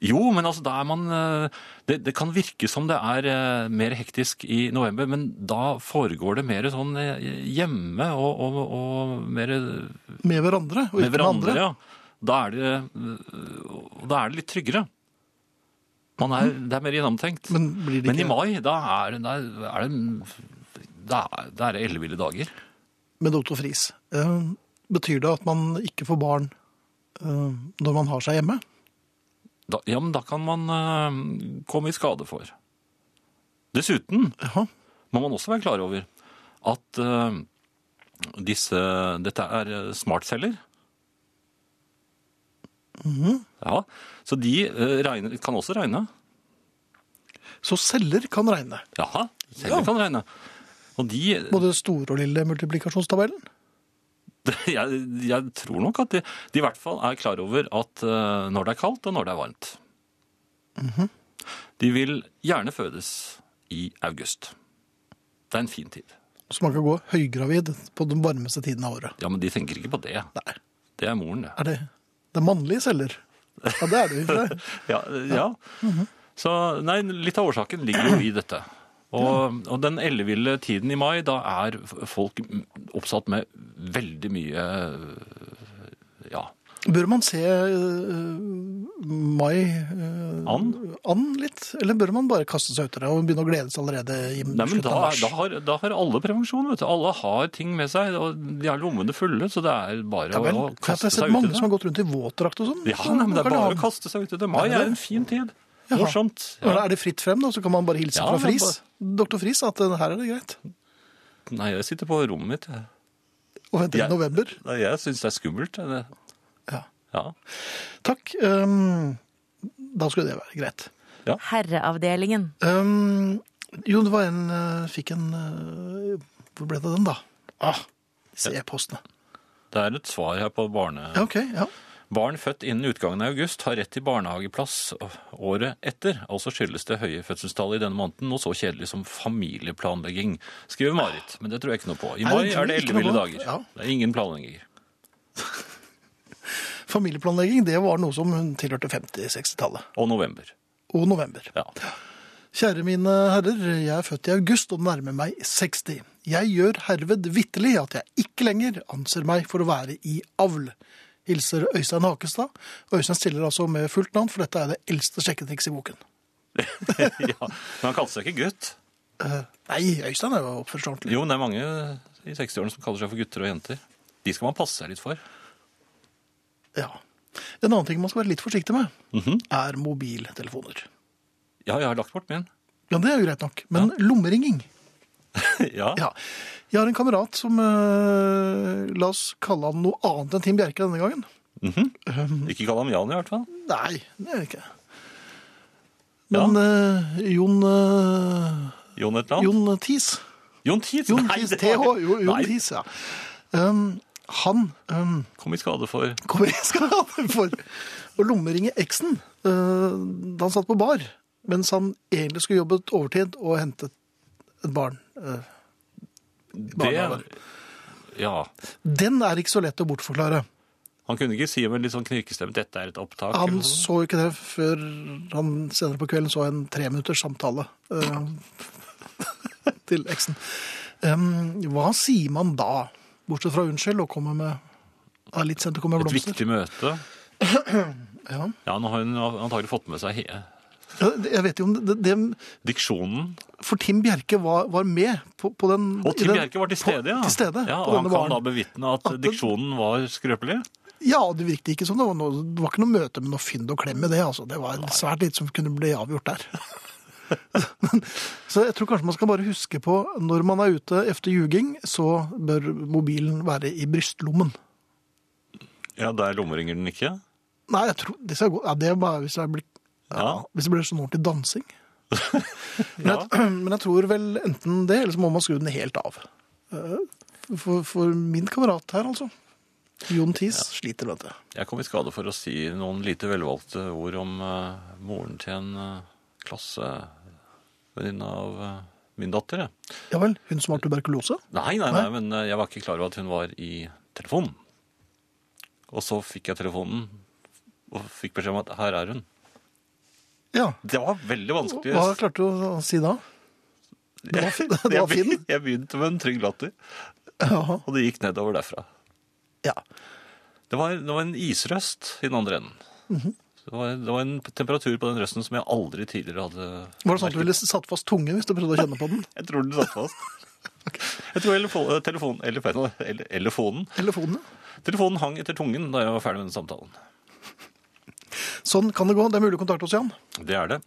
[SPEAKER 2] Jo, men altså, da er man eh, det, det kan virke som det er eh, mer hektisk i november, men da foregår det mer sånn eh, hjemme og, og, og mer med
[SPEAKER 1] Med hverandre og ikke med
[SPEAKER 2] hverandre.
[SPEAKER 1] andre.
[SPEAKER 2] Ja. Da, er det, eh, og da er det litt tryggere. Man er, det er mer gjennomtenkt. Men,
[SPEAKER 1] Mm. Men blir det
[SPEAKER 2] i
[SPEAKER 1] ikke
[SPEAKER 2] mai, da er, det- da er det da er- da er det elleville dager.
[SPEAKER 1] med Otto Friis? Eh, Betyr det at man ikke får barn eh, når man har seg hjemme?
[SPEAKER 2] Da, ja, men da kan man eh, komme i skade for. Dessuten
[SPEAKER 1] Ja.
[SPEAKER 2] må man også være klar over at eh, disse Dette er eh, smartceller.
[SPEAKER 1] Mm-hmm.
[SPEAKER 2] Ja, så de eh, regner, kan også regne.
[SPEAKER 1] Så celler kan regne.
[SPEAKER 2] Jaha, celler
[SPEAKER 1] Ja.
[SPEAKER 2] kan regne. Og de
[SPEAKER 1] Både store og lille multiplikasjonstabellen.
[SPEAKER 2] jeg, jeg tror nok at de, de i hvert fall er klar over at eh, når det er kaldt, og når det er varmt.
[SPEAKER 1] Mm-hmm.
[SPEAKER 2] De vil gjerne fødes i august. Det er en fin tid.
[SPEAKER 1] Så man kan gå høygravid på den varmeste tiden av året.
[SPEAKER 2] Ja, men de tenker ikke på det.
[SPEAKER 1] Nei.
[SPEAKER 2] Det er moren, det.
[SPEAKER 1] Er det, det er mannlige celler? Ja, det er det jo ikke. det.
[SPEAKER 2] Ja, ja.
[SPEAKER 1] Mhm.
[SPEAKER 2] Så nei, litt av årsaken ligger jo i dette. Og, og den elleville tiden i mai, da er folk oppsatt med veldig mye ja,
[SPEAKER 1] Bør man se eh, mai eh,
[SPEAKER 2] and.
[SPEAKER 1] an litt? Eller bør man bare kaste seg ut i det og begynne å glede seg allerede i
[SPEAKER 2] Nei, men
[SPEAKER 1] slutten
[SPEAKER 2] da,
[SPEAKER 1] av mars?
[SPEAKER 2] da, har, da har alle prevensjon, vet du. Alle har ting med seg, og de har lommene fulle, så det er bare
[SPEAKER 1] ja, vel,
[SPEAKER 2] å,
[SPEAKER 1] for
[SPEAKER 2] å
[SPEAKER 1] jeg
[SPEAKER 2] kaste
[SPEAKER 1] har sett
[SPEAKER 2] seg ut i
[SPEAKER 1] mange
[SPEAKER 2] det.
[SPEAKER 1] som har gått rundt i våtdrakt og sånn.
[SPEAKER 2] Ja,
[SPEAKER 1] så
[SPEAKER 2] nei, men det
[SPEAKER 1] kan de
[SPEAKER 2] er
[SPEAKER 1] ha
[SPEAKER 2] bare å
[SPEAKER 1] den.
[SPEAKER 2] kaste seg ut i det. Mai
[SPEAKER 1] det?
[SPEAKER 2] er en fin tid. Morsomt.
[SPEAKER 1] Når det
[SPEAKER 2] Ja.
[SPEAKER 1] Er det fritt frem, da, så kan man bare hilse
[SPEAKER 2] Ja,
[SPEAKER 1] fra
[SPEAKER 2] men
[SPEAKER 1] Friis. Doktor Friis at eh, her er det greit.
[SPEAKER 2] Nei, jeg sitter på rommet mitt. jeg.
[SPEAKER 1] Og vente
[SPEAKER 2] Ja.
[SPEAKER 1] til november.
[SPEAKER 2] Nei, Jeg syns det er skummelt. det-
[SPEAKER 1] Ja.
[SPEAKER 2] Ja.
[SPEAKER 1] Takk. ehm, da skulle det være greit.
[SPEAKER 3] Herreavdelingen.
[SPEAKER 1] Ehm, jo, det var en eh, fikk en eh, Hvor ble det av den, da? Ah, Se postene.
[SPEAKER 2] Det er et svar her på barne...
[SPEAKER 1] Ja, OK. ja.
[SPEAKER 2] Barn født innen utgangen av august har rett til barnehageplass året etter. Altså skyldes det høye fødselstallet i denne måneden noe så kjedelig som familieplanlegging, skriver Marit. Men det tror jeg ikke noe på. I
[SPEAKER 1] Nei, det
[SPEAKER 2] mai
[SPEAKER 1] tror
[SPEAKER 2] er det
[SPEAKER 1] jeg ikke noe
[SPEAKER 2] elleville
[SPEAKER 1] på.
[SPEAKER 2] dager.
[SPEAKER 1] Ja.
[SPEAKER 2] Det er ingen planlegginger.
[SPEAKER 1] Familieplanlegging det var noe som hun tilhørte 50-60-tallet.
[SPEAKER 2] Og november.
[SPEAKER 1] Og november.
[SPEAKER 2] Ja.
[SPEAKER 1] Kjære mine herrer, jeg er født i august og nærmer meg 60. Jeg gjør herved vitterlig at jeg ikke lenger anser meg for å være i avl. Hilser Øystein Hakestad. Øystein stiller altså med fullt navn, for dette er det eldste sjekketriks i boken.
[SPEAKER 2] ja. Men han kalte seg ikke gutt.
[SPEAKER 1] Eh, nei, Øystein er jo oppført seg ordentlig.
[SPEAKER 2] Jo, men det er mange i 60-årene som kaller seg for gutter og jenter. De skal man passe seg litt for.
[SPEAKER 1] Ja. En annen ting man skal være litt forsiktig med, er mobiltelefoner.
[SPEAKER 2] Ja, jeg har lagt bort min.
[SPEAKER 1] Ja, det er jo greit nok, men lommeringing
[SPEAKER 2] ja.
[SPEAKER 1] Ja. Jeg har en kamerat som eh, La oss kalle han noe annet enn Tim Bjerke denne gangen.
[SPEAKER 2] Ikke kall ham Jan i hvert fall.
[SPEAKER 1] Nei, det er det ikke.
[SPEAKER 2] Ja.
[SPEAKER 1] Men eh, Jon eh,
[SPEAKER 2] Jon et eller annet.
[SPEAKER 1] Jon Thies.
[SPEAKER 2] Jon Tiet.
[SPEAKER 1] Jon Thies, TH. Jo, Jon
[SPEAKER 2] Nei,
[SPEAKER 1] Thies, ja. Um, han um,
[SPEAKER 2] kom i skade for
[SPEAKER 1] kommer i skade for å lommeringe eksen eh, da han satt på bar, mens han egentlig skulle jobbet overtid og hentet et barn. eh.
[SPEAKER 2] det.
[SPEAKER 1] barnehagen.
[SPEAKER 2] Ja.
[SPEAKER 1] Den er ikke så lett å bortforklare.
[SPEAKER 2] Han kunne ikke si med litt sånn knirkestemme 'dette er et opptak'.
[SPEAKER 1] Han
[SPEAKER 2] eller noe sånt.
[SPEAKER 1] så jo ikke det før han senere på kvelden så en treminutters samtale eh, til eksen. Em, hva sier man da, bortsett fra unnskyld og kommer med det er litt sent å komme med
[SPEAKER 2] Et
[SPEAKER 1] blomster?
[SPEAKER 2] viktig møte.
[SPEAKER 1] Ja.
[SPEAKER 2] Ja, nå har hun antagelig fått med seg he
[SPEAKER 1] Jeg vet jo om det, det,
[SPEAKER 2] diksjonen.
[SPEAKER 1] For Tim Bjerke var, var med på, på den
[SPEAKER 2] Og
[SPEAKER 1] i
[SPEAKER 2] Tim
[SPEAKER 1] den-
[SPEAKER 2] Bjerke var til
[SPEAKER 1] på-
[SPEAKER 2] stede, ja.
[SPEAKER 1] Til stede
[SPEAKER 2] ja
[SPEAKER 1] på
[SPEAKER 2] og han
[SPEAKER 1] denne
[SPEAKER 2] kan da
[SPEAKER 1] baren.
[SPEAKER 2] bevitne at diksjonen var skrøpelig.
[SPEAKER 1] Ja, det virket ikke som det var noe, det var ikke noe møte med noe fynd og klem i det. altså. Det var svært lite som kunne bli avgjort der. Men- så jeg tror kanskje man skal bare huske på når man er ute efter ljuging, så bør mobilen være i brystlommen.
[SPEAKER 2] Ja, der lommeringer den ikke.
[SPEAKER 1] Nei, jeg tror det skal gå. Ja, det er bare hvis det blir, ja,
[SPEAKER 2] Ja.
[SPEAKER 1] hvis det blir sånn ordentlig dansing. Men, jeg, men jeg tror vel enten det, eller så må man skru den helt av. Eh, For, for min kamerat her, altså. Jon Thies sliter med dette.
[SPEAKER 2] Jeg kom i skade for å si noen lite velvalgte ord om eh, moren til en uh, klassevenninne av eh, min datter. jeg.
[SPEAKER 1] Ja vel, hun som har tuberkulose?
[SPEAKER 2] Nei, nei, nei, men eh, jeg var ikke klar over at hun var i telefonen. Og så fikk jeg telefonen og fikk beskjed om at her er hun.
[SPEAKER 1] Ja.
[SPEAKER 2] Det var veldig vanskelig.
[SPEAKER 1] Hva klarte du å si da? Det var, fin- det
[SPEAKER 2] Jeg
[SPEAKER 1] var fin.
[SPEAKER 2] be- Jeg begynte med en trygg latter,
[SPEAKER 1] Ja.
[SPEAKER 2] og det gikk nedover derfra.
[SPEAKER 1] ja.
[SPEAKER 2] Det var, det var en isrøst i den andre enden. det, var, det var en temperatur på den røsten som jeg aldri tidligere hadde
[SPEAKER 1] Var det sånn at du ville satt fast tungen hvis du prøvde å kjenne på den?
[SPEAKER 2] Jeg tror den satt fast. Jeg tror elefo- telefonen, elefo- ele- elefonen,
[SPEAKER 1] Telefonene?
[SPEAKER 2] telefonen hang etter tungen da jeg var ferdig med den samtalen.
[SPEAKER 1] Sånn kan det gå. Det er mulig å kontakte oss, Jan.
[SPEAKER 2] Det er det.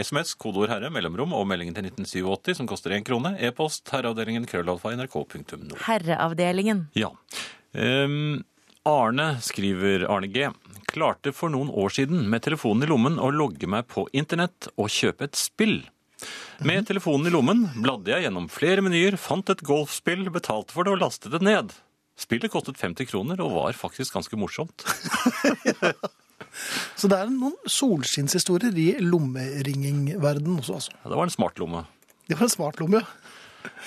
[SPEAKER 2] SMS, kodeord herre, mellomrom og meldingen til 1987 som koster én krone. E-post herreavdelingen krøllalfa nrk.no.
[SPEAKER 3] Herreavdelingen.
[SPEAKER 2] Ja. Ehm, Arne skriver Arne G. Klarte for noen år siden med telefonen i lommen å logge meg på internett og kjøpe et spill. Med telefonen i lommen bladde jeg gjennom flere menyer, fant et golfspill, betalte for det og lastet det ned. Spillet kostet 50 kroner og var faktisk ganske morsomt.
[SPEAKER 1] Så det er noen solskinnshistorier i lommeringingverdenen også, altså.
[SPEAKER 2] Ja, Det var en smart lomme.
[SPEAKER 1] Det var en smart lomme, ja.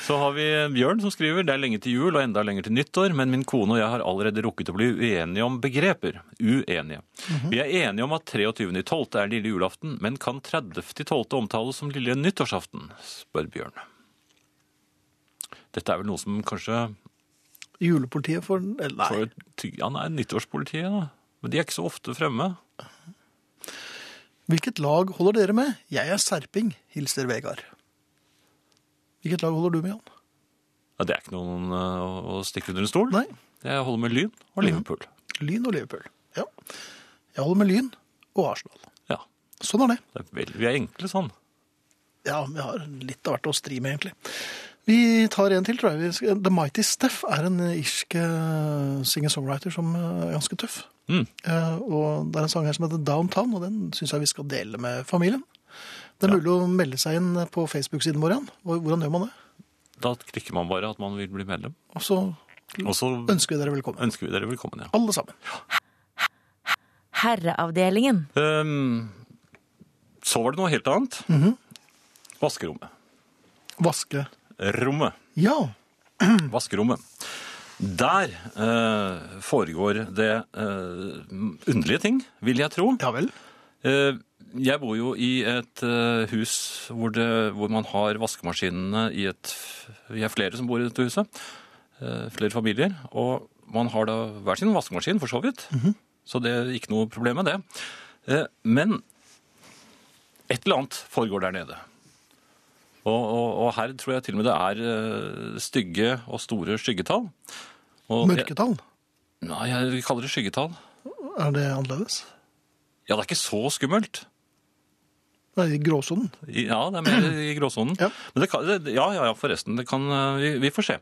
[SPEAKER 2] Så har vi Bjørn som skriver Det er lenge til jul og enda lenger til nyttår, men min kone og jeg har allerede rukket å bli uenige om begreper. Uenige.
[SPEAKER 1] Mhm.
[SPEAKER 2] Vi er enige om at 23.12. er lille julaften, men kan 30.12. omtales som lille nyttårsaften? spør Bjørn. Dette er vel noe som kanskje
[SPEAKER 1] Julepolitiet for eller Nei.
[SPEAKER 2] får ty- Ja, nei, nyttårspolitiet, da. Men de er ikke så ofte fremme.
[SPEAKER 1] Hvilket lag holder dere med? Jeg er Serping, hilser Vegard. Hvilket lag holder du med, Jan?
[SPEAKER 2] Ja, det er ikke noen eh, å å stikke under en stol.
[SPEAKER 1] Nei. Mhm.
[SPEAKER 2] Jeg holder med Lyn og Liverpool.
[SPEAKER 1] Lyn og Liverpool. Ja. Jeg holder med Lyn og Arsenal.
[SPEAKER 2] Ja.
[SPEAKER 1] Sånn er det.
[SPEAKER 2] Det er vel- vi er enkle sånn.
[SPEAKER 1] Ja, vi har litt av hvert å stri med, egentlig. Vi tar en til, tror jeg. Vi skal- The Mighty Steff er en irsk eh, singer-songwriter som eh, er ganske tøff.
[SPEAKER 2] Mm.
[SPEAKER 1] Eh, Og det er en sang her som heter Downtown, og den syns jeg vi skal dele med familien. Det er mulig å melde seg inn på Facebook-siden vår igjen. Hvor- Hvordan gjør man det?
[SPEAKER 2] Da klikker man bare at man vil bli medlem.
[SPEAKER 1] Og så
[SPEAKER 2] Og så
[SPEAKER 1] Mm. ønsker vi dere velkommen.
[SPEAKER 2] ønsker vi dere velkommen, ja.
[SPEAKER 1] Alle sammen.
[SPEAKER 3] Herreavdelingen.
[SPEAKER 2] Ehm, så var det noe helt annet. Vaskerommet.
[SPEAKER 1] Vaske.
[SPEAKER 2] Rommet.
[SPEAKER 1] Ja.
[SPEAKER 2] Vaskerommet. Der eh, foregår det eh, underlige ting, vil jeg tro.
[SPEAKER 1] Ja vel.
[SPEAKER 2] Eh, jeg bor jo i et eh, hus hvor, det, hvor man har vaskemaskinene i et Vi er flere som bor i dette huset. eh, flere familier. Og man har da hver sin vaskemaskin, for så vidt. Så det er ikke noe problem med det. Eh, men et eller annet foregår der nede. Og, og, og her tror jeg til og med det er eh, stygge og store skyggetall. Og jeg,
[SPEAKER 1] Mørketall.
[SPEAKER 2] nei, jeg kaller det skyggetall.
[SPEAKER 1] Er det annerledes?
[SPEAKER 2] Ja, det er ikke så skummelt.
[SPEAKER 1] Nei, i gråsonen.
[SPEAKER 2] I- Ja, det er mer i gråsonen.
[SPEAKER 1] Ja.
[SPEAKER 2] Men det kan, det, ja, ja, ja, forresten. Det kan, eh, vi, vi får se.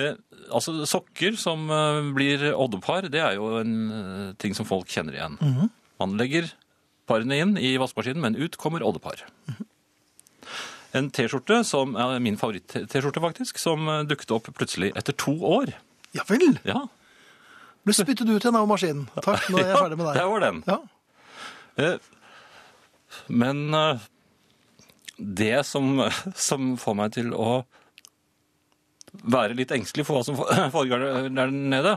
[SPEAKER 2] Eh, altså, sokker som eh, blir oddepar, det er jo en eh, ting som folk kjenner igjen.
[SPEAKER 1] Mhm.
[SPEAKER 2] Man legger parene inn i vaskemaskinen, men ut kommer oddepar.
[SPEAKER 1] Mhm.
[SPEAKER 2] En T-skjorte, som er min favoritt-T-skjorte faktisk, som eh, dukket opp plutselig etter to år.
[SPEAKER 1] Ja vel.
[SPEAKER 2] Ja,
[SPEAKER 1] Ble spyttet ut igjen av maskinen. Takk, nå er jeg
[SPEAKER 2] Ja,
[SPEAKER 1] ferdig med deg.
[SPEAKER 2] der var den.
[SPEAKER 1] Ja.
[SPEAKER 2] Eh, Men eh, det som, som får meg til å være litt engstelig for hva som foregår der nede,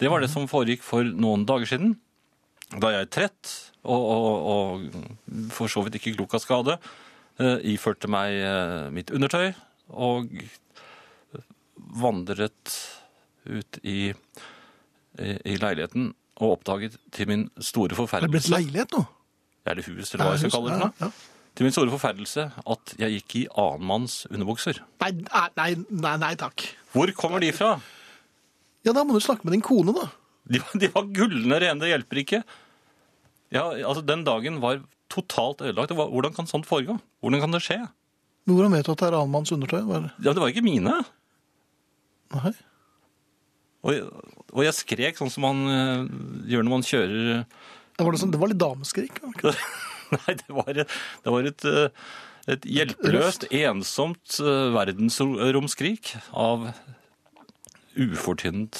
[SPEAKER 2] det var det som foregikk for noen dager siden. Da jeg trett og, og, og for så vidt ikke klok av skade, eh, iførte meg eh, mitt undertøy og vandret ut i, i, i leiligheten og oppdaget til min store
[SPEAKER 1] Er det blitt
[SPEAKER 2] forferdelse
[SPEAKER 1] leilighet nå?
[SPEAKER 2] eller hus, eller hva jeg skal kalle det. for noe.
[SPEAKER 1] Ja, ja.
[SPEAKER 2] Til min store forferdelse at jeg gikk i annenmanns underbukser.
[SPEAKER 1] Nei, nei, nei, nei, nei takk.
[SPEAKER 2] Hvor kommer de fra?
[SPEAKER 1] Ja, da må du snakke med din kone, da.
[SPEAKER 2] De, var- de var gullende rene, det hjelper ikke. Ja, altså Den dagen var totalt ødelagt. Hva- Hvordan kan sånt foregå? Hvordan kan det skje?
[SPEAKER 1] Men Hvordan vet du at det er annen manns undertøy? Hva er det?
[SPEAKER 2] Ja, Det var ikke mine.
[SPEAKER 1] Nei.
[SPEAKER 2] Og, jeg- og jeg skrek sånn som man eh, gjør når man kjører
[SPEAKER 1] Det var, det sånn, det var litt dameskrik. var det ikke?
[SPEAKER 2] Nei, det var, det var et, eh, Et hjelpeløst, ensomt eh, verdensromskrik av ufortjent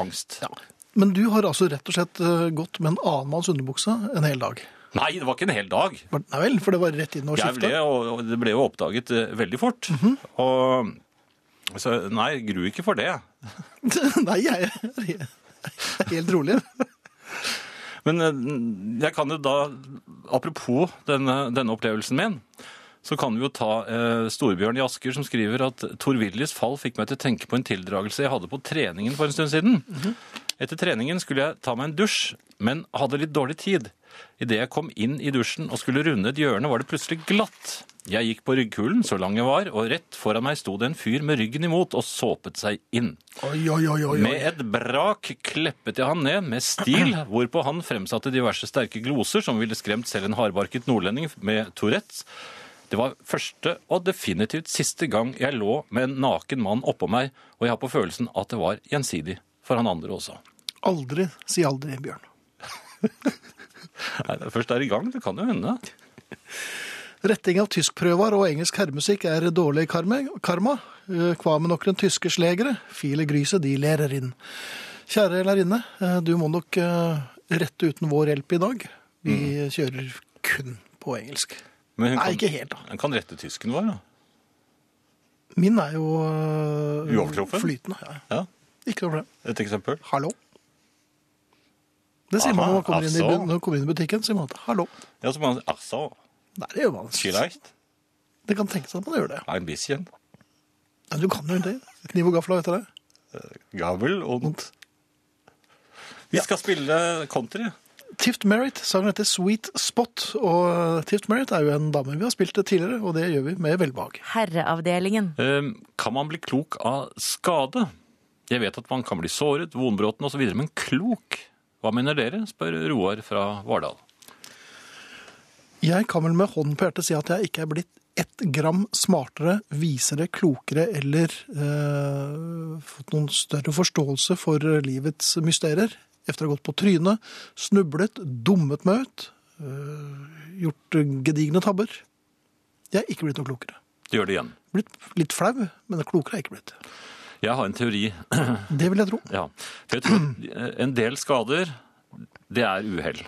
[SPEAKER 2] angst.
[SPEAKER 1] Men du har altså rett og slett eh, gått med en annen manns underbukse en hel dag.
[SPEAKER 2] Nei, det var ikke en hel dag.
[SPEAKER 1] Men- Nei vel, for det var rett inn og
[SPEAKER 2] Jeg ble,
[SPEAKER 1] skiftet.
[SPEAKER 2] og og det ble jo oppdaget eh, veldig fort. Og så nei, gru ikke for det.
[SPEAKER 1] Nei, jeg jeg er helt rolig.
[SPEAKER 2] Men eh, jeg kan jo da, apropos denne, denne opplevelsen min, så kan vi jo ta eh, Storbjørn i Asker som skriver at Tor Willis fall fikk meg til å tenke på en tildragelse jeg hadde på treningen for en stund siden. Etter treningen skulle jeg ta meg en dusj, men hadde litt dårlig tid. Idet jeg kom inn i dusjen og skulle runde et hjørne, var det plutselig glatt. Jeg gikk på ryggkulen så lang jeg var, og rett foran meg sto det en fyr med ryggen imot og såpet seg inn.
[SPEAKER 1] Oi, oi, oi, oi. oi.
[SPEAKER 2] Med et brak kleppet jeg han ned med stil, hvorpå han fremsatte diverse sterke gloser som ville skremt selv en hardbarket nordlending med Tourettes. Det var første og definitivt siste gang jeg lå med en naken mann oppå meg, og jeg har på følelsen at det var gjensidig for han andre også.
[SPEAKER 1] Aldri si aldri, Bjørn.
[SPEAKER 2] Nei, det først er i gang, det kan jo hende.
[SPEAKER 1] Retting av tyskprøver og engelsk herremusikk er dårlig karma. karma. Eh, Hva med noen tyske slegere? File gryset, de lærer inn. Kjære lærerinne, eh, du må nok eh, rette uten vår hjelp i dag. Vi
[SPEAKER 2] Mm.
[SPEAKER 1] kjører kun på engelsk.
[SPEAKER 2] Men hun
[SPEAKER 1] Nei,
[SPEAKER 2] kan,
[SPEAKER 1] ikke helt, da.
[SPEAKER 2] hun kan rette tysken vår, da.
[SPEAKER 1] Min er jo eh,
[SPEAKER 2] Uovertruffen?
[SPEAKER 1] flytende. Ja.
[SPEAKER 2] Ja,
[SPEAKER 1] Ikke noe problem.
[SPEAKER 2] et eksempel.
[SPEAKER 1] Hallo. Det sier man
[SPEAKER 2] Aha,
[SPEAKER 1] når man kommer, inn i,
[SPEAKER 2] altså.
[SPEAKER 1] bu- når man kommer inn i butikken. sier man at hallo.
[SPEAKER 2] Ja, så man, altså,
[SPEAKER 1] Nei, det gjør man ikke.
[SPEAKER 2] vielleicht,
[SPEAKER 1] Det kan tenkes at man gjør det.
[SPEAKER 2] ein bisschen,
[SPEAKER 1] Men du kan jo det. Kniv og gaffel og etter det.
[SPEAKER 2] gavel und. Vi skal spille country,
[SPEAKER 1] Tift Merritt sang dette Sweet Spot, og eh, Tift Merritt er jo en dame vi har spilt tidligere, og det gjør vi med velbehag.
[SPEAKER 3] Herreavdelingen.
[SPEAKER 2] Eh, Kan man bli klok av skade? Jeg vet at man kan bli såret, vonbråten osv., men klok? Hva mener dere? spør Roar fra Vardal.
[SPEAKER 1] Jeg kan vel med hånden på hjertet si at jeg ikke er blitt ett gram smartere, visere, klokere eller eh, fått noen større forståelse for livets mysterier. Efter å ha gått på trynet, snublet, dummet meg ut, eh, gjort gedigne tabber. Jeg er ikke blitt noe klokere.
[SPEAKER 2] Det gjør det igjen.
[SPEAKER 1] Blitt litt flau, men klokere er jeg ikke blitt.
[SPEAKER 2] Jeg har en teori.
[SPEAKER 1] Det vil jeg tro.
[SPEAKER 2] Ja. For jeg tror at en del skader, det er uhell.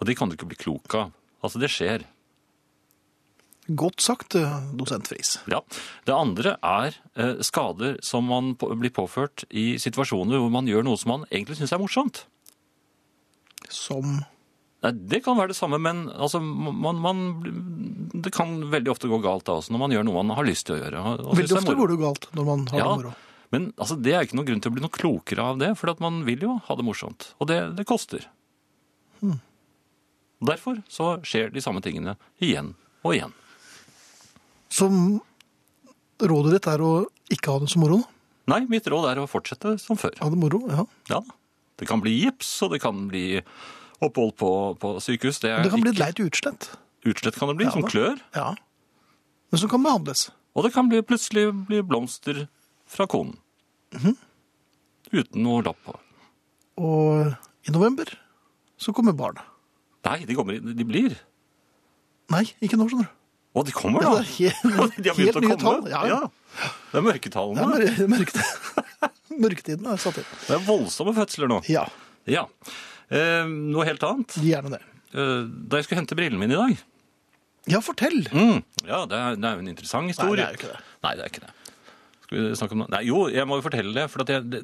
[SPEAKER 2] Og de kan du ikke bli klok av. Altså, det skjer.
[SPEAKER 1] Godt sagt, eh, dosent Friis.
[SPEAKER 2] Ja. Det andre er eh, skader som man på, blir påført i situasjoner hvor man gjør noe som man egentlig syns er morsomt.
[SPEAKER 1] Som
[SPEAKER 2] Nei, det kan være det samme, men altså, man, man, det kan veldig ofte gå galt da også, når man gjør noe man har lyst til å gjøre. og- og synes
[SPEAKER 1] Veldig
[SPEAKER 2] det er
[SPEAKER 1] ofte
[SPEAKER 2] moro.
[SPEAKER 1] går det jo galt når man har
[SPEAKER 2] Ja.
[SPEAKER 1] det moro.
[SPEAKER 2] Men altså, det er ikke noen grunn til å bli noe klokere av det, for at man vil jo ha det morsomt. Og det, det koster.
[SPEAKER 1] Hmm.
[SPEAKER 2] Derfor så skjer de samme tingene igjen og igjen.
[SPEAKER 1] Så rådet ditt er å ikke ha det så moro. da.
[SPEAKER 2] Nei, mitt råd er å fortsette som før.
[SPEAKER 1] Ha det moro, ja.
[SPEAKER 2] Ja, da. det kan bli gips, og det kan bli opphold på, på sykehus. Det, er
[SPEAKER 1] Og det kan bli
[SPEAKER 2] ikke-
[SPEAKER 1] et leit utslett.
[SPEAKER 2] Utslett kan det bli, som
[SPEAKER 1] da.
[SPEAKER 2] klør.
[SPEAKER 1] Ja. Men som kan behandles.
[SPEAKER 2] Og det kan bli, plutselig bli blomster fra konen.
[SPEAKER 1] Mhm.
[SPEAKER 2] Uten noe lapp på.
[SPEAKER 1] Og i november så kommer barna.
[SPEAKER 2] Nei, de, kommer, i- de blir.
[SPEAKER 1] Nei, ikke nå, skjønner du.
[SPEAKER 2] Og de kommer,
[SPEAKER 1] Ja,
[SPEAKER 2] da!
[SPEAKER 1] det er helt-
[SPEAKER 2] de har
[SPEAKER 1] helt
[SPEAKER 2] begynt å
[SPEAKER 1] nye
[SPEAKER 2] komme.
[SPEAKER 1] tall, ja, ja.
[SPEAKER 2] Det er mørketallene.
[SPEAKER 1] Det er mør- mørketid. Mørketiden er satt inn.
[SPEAKER 2] Det er voldsomme fødsler nå.
[SPEAKER 1] Ja,
[SPEAKER 2] Ja. Eh, noe helt annet.
[SPEAKER 1] gjerne det.
[SPEAKER 2] Eh, da jeg skulle hente brillene mine i dag
[SPEAKER 1] Ja, fortell!
[SPEAKER 2] mm. Ja, det er, det er jo en interessant
[SPEAKER 1] Nei,
[SPEAKER 2] historie.
[SPEAKER 1] det er jo ikke det.
[SPEAKER 2] Nei, det er ikke det. Skal vi snakke om noe? Nei, jo, jeg må jo fortelle det. For at jeg, det-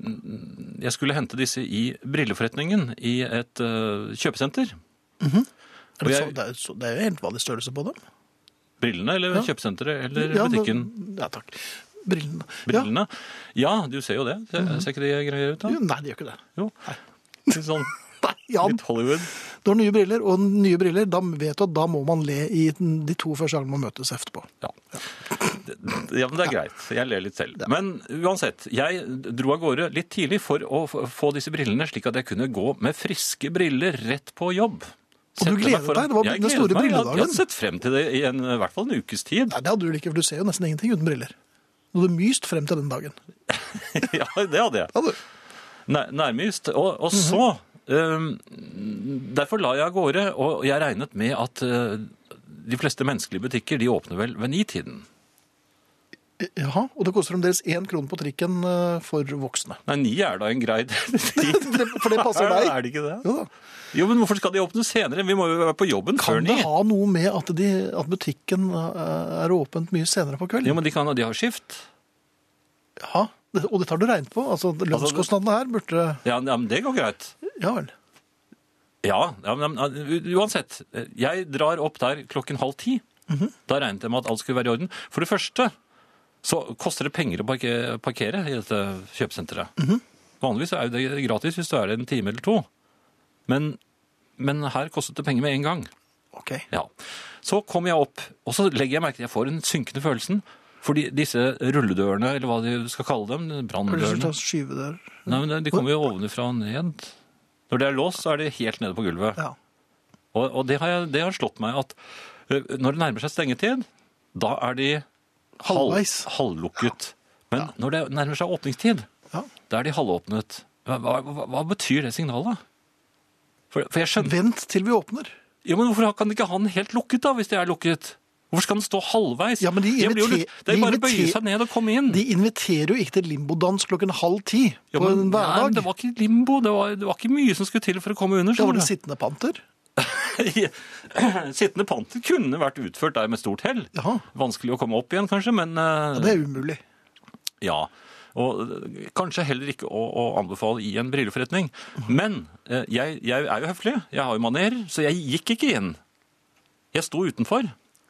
[SPEAKER 2] jeg skulle hente disse i brilleforretningen i et eh, kjøpesenter.
[SPEAKER 1] Er det, så,
[SPEAKER 2] Og jeg-
[SPEAKER 1] det, er, jo så, det er jo helt vanlig størrelse på dem.
[SPEAKER 2] Brillene eller kjøpesenteret eller
[SPEAKER 1] Ja, men-
[SPEAKER 2] butikken?
[SPEAKER 1] Ja, takk. Brillene. Ja.
[SPEAKER 2] Brillene? Ja. du ser jo det. Ser,
[SPEAKER 1] Mhm.
[SPEAKER 2] ser ikke de greier ut da?
[SPEAKER 1] Jo, Nei, det gjør ikke det.
[SPEAKER 2] Jo. Litt sånn
[SPEAKER 1] Nei, Jan,
[SPEAKER 2] litt Hollywood.
[SPEAKER 1] du har nye briller, og nye briller, da vet du at da må man le i den- de to første gangene man møtes etterpå.
[SPEAKER 2] Ja. Det- ja, men det er greit. Jeg ler litt selv. Men uansett, jeg dro av gårde litt tidlig for å f- få disse brillene, slik at jeg kunne gå med friske briller rett på jobb.
[SPEAKER 1] Og du
[SPEAKER 2] Sette meg
[SPEAKER 1] gledet deg? Det var
[SPEAKER 2] Jeg
[SPEAKER 1] den
[SPEAKER 2] gledet
[SPEAKER 1] store
[SPEAKER 2] meg. Jeg- Jeg
[SPEAKER 1] brilledagen.
[SPEAKER 2] hadde sett frem til det i, en, i hvert fall en ukes tid.
[SPEAKER 1] Nei, det hadde du vel ikke, for du ser jo nesten ingenting uten briller. Du hadde myst frem til den dagen.
[SPEAKER 2] ja, det hadde jeg.
[SPEAKER 1] Ja, du.
[SPEAKER 2] Nær, nærmest. Og,
[SPEAKER 1] Mhm.
[SPEAKER 2] og så ehm, eh, Derfor la jeg av gårde, og jeg regnet med at eh, de fleste menneskelige butikker de åpner vel ved nitiden.
[SPEAKER 1] Eh, Jaha, og det koster omdeles én krone på trikken eh, for voksne.
[SPEAKER 2] Nei, ni er da en grei tid.
[SPEAKER 1] For det, for det passer
[SPEAKER 2] Er det-
[SPEAKER 1] deg.
[SPEAKER 2] Er det ikke det?
[SPEAKER 1] Jo da.
[SPEAKER 2] Jo, men hvorfor skal de åpne senere? Vi må jo være på jobben før
[SPEAKER 1] Kan
[SPEAKER 2] ni.
[SPEAKER 1] det ha noe med at, de, at butikken eh, er åpent mye senere på
[SPEAKER 2] Jo,
[SPEAKER 1] kvelden?
[SPEAKER 2] men de, kan, de har skift.
[SPEAKER 1] Ja, det, og dette har du regnet på. Altså, Lønnskostnadene her burde
[SPEAKER 2] Ja, ja, men det går greit.
[SPEAKER 1] Ja vel.
[SPEAKER 2] Ja, ja men ja, u- uansett. Jeg drar opp der klokken halv ti. Da regnet jeg med at alt skulle være i orden. For det første så koster det penger å parke- parkere i dette kjøpesenteret. Vanligvis er jo det gratis hvis du er der en time eller to. Men, men her kostet det penger med en gang.
[SPEAKER 1] OK.
[SPEAKER 2] Ja. Så kom jeg opp, og så legger jeg merke til at jeg får den synkende følelsen. Fordi disse rulledørene, eller hva de skal kalle dem,
[SPEAKER 1] Har du lyst til
[SPEAKER 2] branndørene
[SPEAKER 1] å skyve der?
[SPEAKER 2] Nei, men De kommer jo ovenfra og ned. Når det er låst, så er det helt nede på gulvet.
[SPEAKER 1] Ja.
[SPEAKER 2] Og, og det, har jeg, det har slått meg at ø, når det nærmer seg stengetid, da er de halv,
[SPEAKER 1] Halvveis.
[SPEAKER 2] halvlukket. Men når det nærmer seg åpningstid,
[SPEAKER 1] ja.
[SPEAKER 2] da er de halvåpnet. Hva, hva, hva betyr det signalet? For, for jeg skjønner
[SPEAKER 1] Vent til vi åpner.
[SPEAKER 2] ja, men Hvorfor kan ikke ha den helt lukket, da, hvis det er lukket? Hvorfor skal den stå halvveis?
[SPEAKER 1] Ja, men de
[SPEAKER 2] Jeg blir jo
[SPEAKER 1] invite-
[SPEAKER 2] litt- det er
[SPEAKER 1] de
[SPEAKER 2] bare å bøye
[SPEAKER 1] invite-
[SPEAKER 2] seg ned og komme inn.
[SPEAKER 1] De inviterer jo ikke til limbodans klokken halv ti
[SPEAKER 2] ja,
[SPEAKER 1] på
[SPEAKER 2] men,
[SPEAKER 1] en
[SPEAKER 2] nei, men
[SPEAKER 1] hverdag.
[SPEAKER 2] det var sånn, ikke limbo. Det var, det var ikke mye som skulle til for å komme under.
[SPEAKER 1] Da var
[SPEAKER 2] skjønner
[SPEAKER 1] det sittende panter.
[SPEAKER 2] du. Sittende panter kunne vært utført der med stort hell.
[SPEAKER 1] Jaha.
[SPEAKER 2] Vanskelig å komme opp igjen, kanskje, men eh,
[SPEAKER 1] Ja, det er umulig.
[SPEAKER 2] ja. Og eh, kanskje heller ikke å, å anbefale i en brilleforretning. Men eh, jeg, jeg er jo høflig, jeg har jo manerer, så jeg gikk ikke inn. Jeg sto utenfor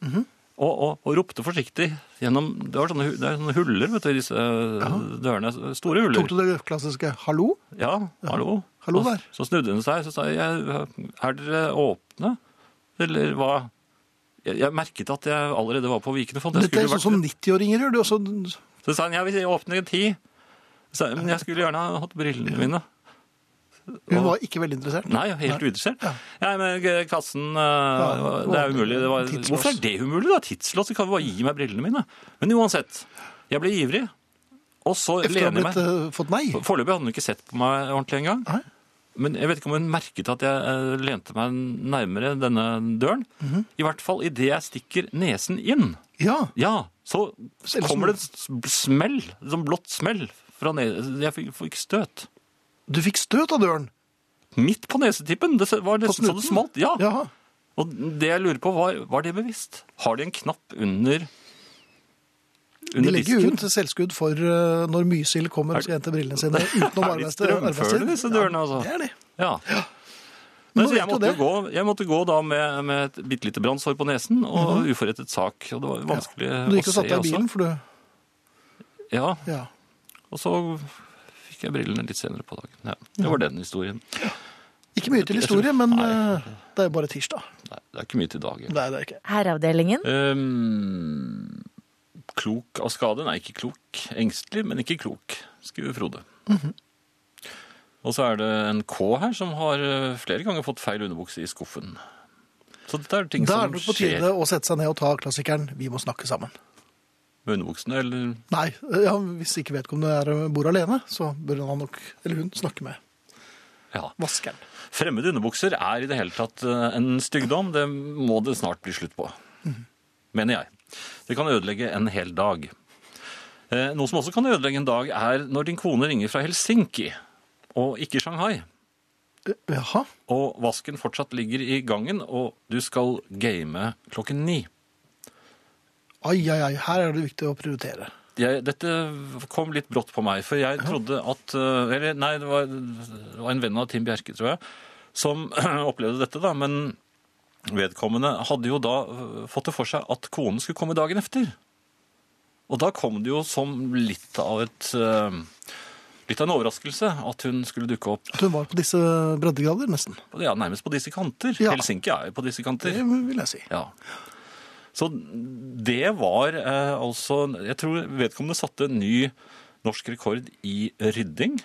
[SPEAKER 2] og, og, og ropte forsiktig gjennom Det var sånne, hu- det er sånne huller, vet du, i disse eh, dørene. Store huller.
[SPEAKER 1] Tok du det klassiske 'hallo'?
[SPEAKER 2] Ja, hallo.
[SPEAKER 1] Hallo
[SPEAKER 2] Og
[SPEAKER 1] der.
[SPEAKER 2] Så snudde hun seg, så sa jeg, er dere åpne? Eller hva? Jeg, jeg merket at jeg allerede var på Vikene Fond. Jeg
[SPEAKER 1] Dette er
[SPEAKER 2] skulle
[SPEAKER 1] sånn
[SPEAKER 2] vært...
[SPEAKER 1] som 90-åringer gjør. Det er også
[SPEAKER 2] Så sa han, ja, vi åpner en ti. Så, sa jeg, men jeg skulle gjerne ha hatt brillene mine.
[SPEAKER 1] Hun var ikke veldig interessert.
[SPEAKER 2] Nei, helt uinteressert. Ja. men kassen, eh,
[SPEAKER 1] det
[SPEAKER 2] det
[SPEAKER 1] var-
[SPEAKER 2] er umulig. Det var...
[SPEAKER 1] tidslås.
[SPEAKER 2] Hvorfor er det umulig da? Tidslås, så kan vi bare gi meg brillene mine. Men uansett, jeg ble ivrig. Og så
[SPEAKER 1] Efter å ha
[SPEAKER 2] lener jeg
[SPEAKER 1] blitt,
[SPEAKER 2] meg.
[SPEAKER 1] eh, fått nei.
[SPEAKER 2] Foreløpig hadde hun ikke sett på meg ordentlig engang.
[SPEAKER 1] Nei.
[SPEAKER 2] Men jeg vet ikke om hun merket at jeg eh, lente meg nærmere denne døren.
[SPEAKER 1] Mhm.
[SPEAKER 2] I hvert fall idet jeg stikker nesen inn.
[SPEAKER 1] Ja.
[SPEAKER 2] Ja, så
[SPEAKER 1] Så ellers-
[SPEAKER 2] kommer det et smell, et sånt blått smell fra nesen. Jeg fikk, fikk støt.
[SPEAKER 1] Du fikk støt av døren.
[SPEAKER 2] Midt på nesetippen! Det var nesten så
[SPEAKER 1] snuten?
[SPEAKER 2] det smalt. Ja.
[SPEAKER 1] Jaha.
[SPEAKER 2] Og det jeg lurer på, var, var det bevisst? Har de en knapp under
[SPEAKER 1] De
[SPEAKER 2] under
[SPEAKER 1] legger jo
[SPEAKER 2] disken?
[SPEAKER 1] ut selvskudd for eh, når mysild kommer og skal hente brillene sine utenom
[SPEAKER 2] Er de
[SPEAKER 1] arbeidstid.
[SPEAKER 2] strømførende, disse dørene, altså?
[SPEAKER 1] Ja, det er de.
[SPEAKER 2] Ja. Nei,
[SPEAKER 1] Nå
[SPEAKER 2] så jeg,
[SPEAKER 1] vet du
[SPEAKER 2] måtte
[SPEAKER 1] det.
[SPEAKER 2] gå, jeg måtte gå da med, med et bitte lite brannsår på nesen og uforrettet sak. Og det var vanskelig
[SPEAKER 1] Mhm. Du gikk
[SPEAKER 2] å
[SPEAKER 1] og
[SPEAKER 2] se sånn.
[SPEAKER 1] satte deg i bilen,
[SPEAKER 2] også.
[SPEAKER 1] for du
[SPEAKER 2] Ja,
[SPEAKER 1] Ja.
[SPEAKER 2] og så fikk jeg brillene litt senere på dagen. Ja, det var den historien.
[SPEAKER 1] Ikke mye til historie, men eh, det er jo bare tirsdag.
[SPEAKER 2] Nei, det er ikke mye til dagen.
[SPEAKER 1] Nei, det er ikke.
[SPEAKER 3] Herreavdelingen.
[SPEAKER 2] Ehm, klok av skade? Nei, ikke klok. Engstelig, men ikke klok, skriver Frode.
[SPEAKER 1] Mhm.
[SPEAKER 2] Og så er det en K her som har eh, flere ganger fått feil underbukse i skuffen. Så dette er ting
[SPEAKER 1] Da er
[SPEAKER 2] som
[SPEAKER 1] det på
[SPEAKER 2] skjer
[SPEAKER 1] tide å sette seg ned og ta klassikeren 'Vi må snakke sammen'.
[SPEAKER 2] med underbuksene, eller
[SPEAKER 1] Nei, eh, ja, hvis ikke vedkommende er, eh, bor alene, så bør han nok, eller hun, snakke med
[SPEAKER 2] ja.
[SPEAKER 1] vaskeren.
[SPEAKER 2] Fremmede underbukser er i det hele tatt eh, en stygdom. Det må det snart bli slutt på.
[SPEAKER 1] Mhm.
[SPEAKER 2] Mener jeg. Det kan ødelegge en hel dag. Eh, Noe som også kan ødelegge en dag, er når din kone ringer fra Helsinki og ikke Shanghai,
[SPEAKER 1] Eh, Jaha.
[SPEAKER 2] og vasken fortsatt ligger i gangen, og du skal game klokken ni.
[SPEAKER 1] Ai, ai, ai. Her er det viktig å prioritere.
[SPEAKER 2] jeg, dette kom litt brått på meg, for jeg trodde at eh, Eller nei, det var, det var en venn av Tim Bjerke, tror jeg, som opplevde dette, da. Men vedkommende hadde jo da eh, fått det for seg at konen skulle komme dagen etter. Og da kom det jo som litt av et eh, Litt av en overraskelse at hun skulle dukke opp
[SPEAKER 1] At hun var på disse breddegrader, nesten.
[SPEAKER 2] ja, nærmest på disse kanter.
[SPEAKER 1] Ja.
[SPEAKER 2] Helsinki er jo på disse kanter.
[SPEAKER 1] Det vil jeg si.
[SPEAKER 2] Ja. Så det var eh, altså Jeg tror vedkommende satte en ny norsk rekord i rydding.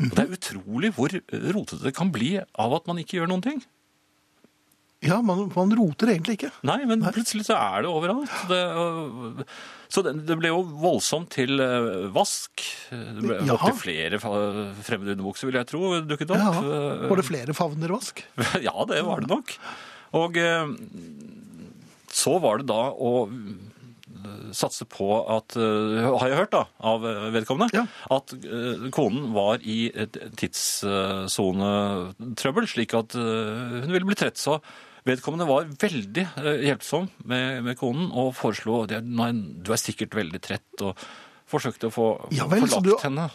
[SPEAKER 2] Og det er utrolig hvor rotete det kan bli av at man ikke gjør noen ting.
[SPEAKER 1] Ja, man, man roter egentlig ikke.
[SPEAKER 2] Nei, men plutselig så er det overalt. Det, øh, så det, det ble jo voldsomt til øh, vask. Det ble
[SPEAKER 1] Jaha.
[SPEAKER 2] opptil flere fa- fremmede underbukser, vil jeg tro, dukket opp.
[SPEAKER 1] Ja.
[SPEAKER 2] Eh,
[SPEAKER 1] Var det flere favner vask?
[SPEAKER 2] Ja, det var det nok. Og eh, Så var det da å eh, satse på at eh, Har jeg hørt, da, av eh, vedkommende,
[SPEAKER 1] Ja.
[SPEAKER 2] at eh, konen var i et tidssonetrøbbel, slik at eh, hun ville bli trett. Så vedkommende var veldig eh, hjelpsom med, med konen og foreslo at nei, du er sikkert veldig trett, og forsøkte å få
[SPEAKER 1] Ja vel, så
[SPEAKER 2] forlagt
[SPEAKER 1] du-
[SPEAKER 2] henne.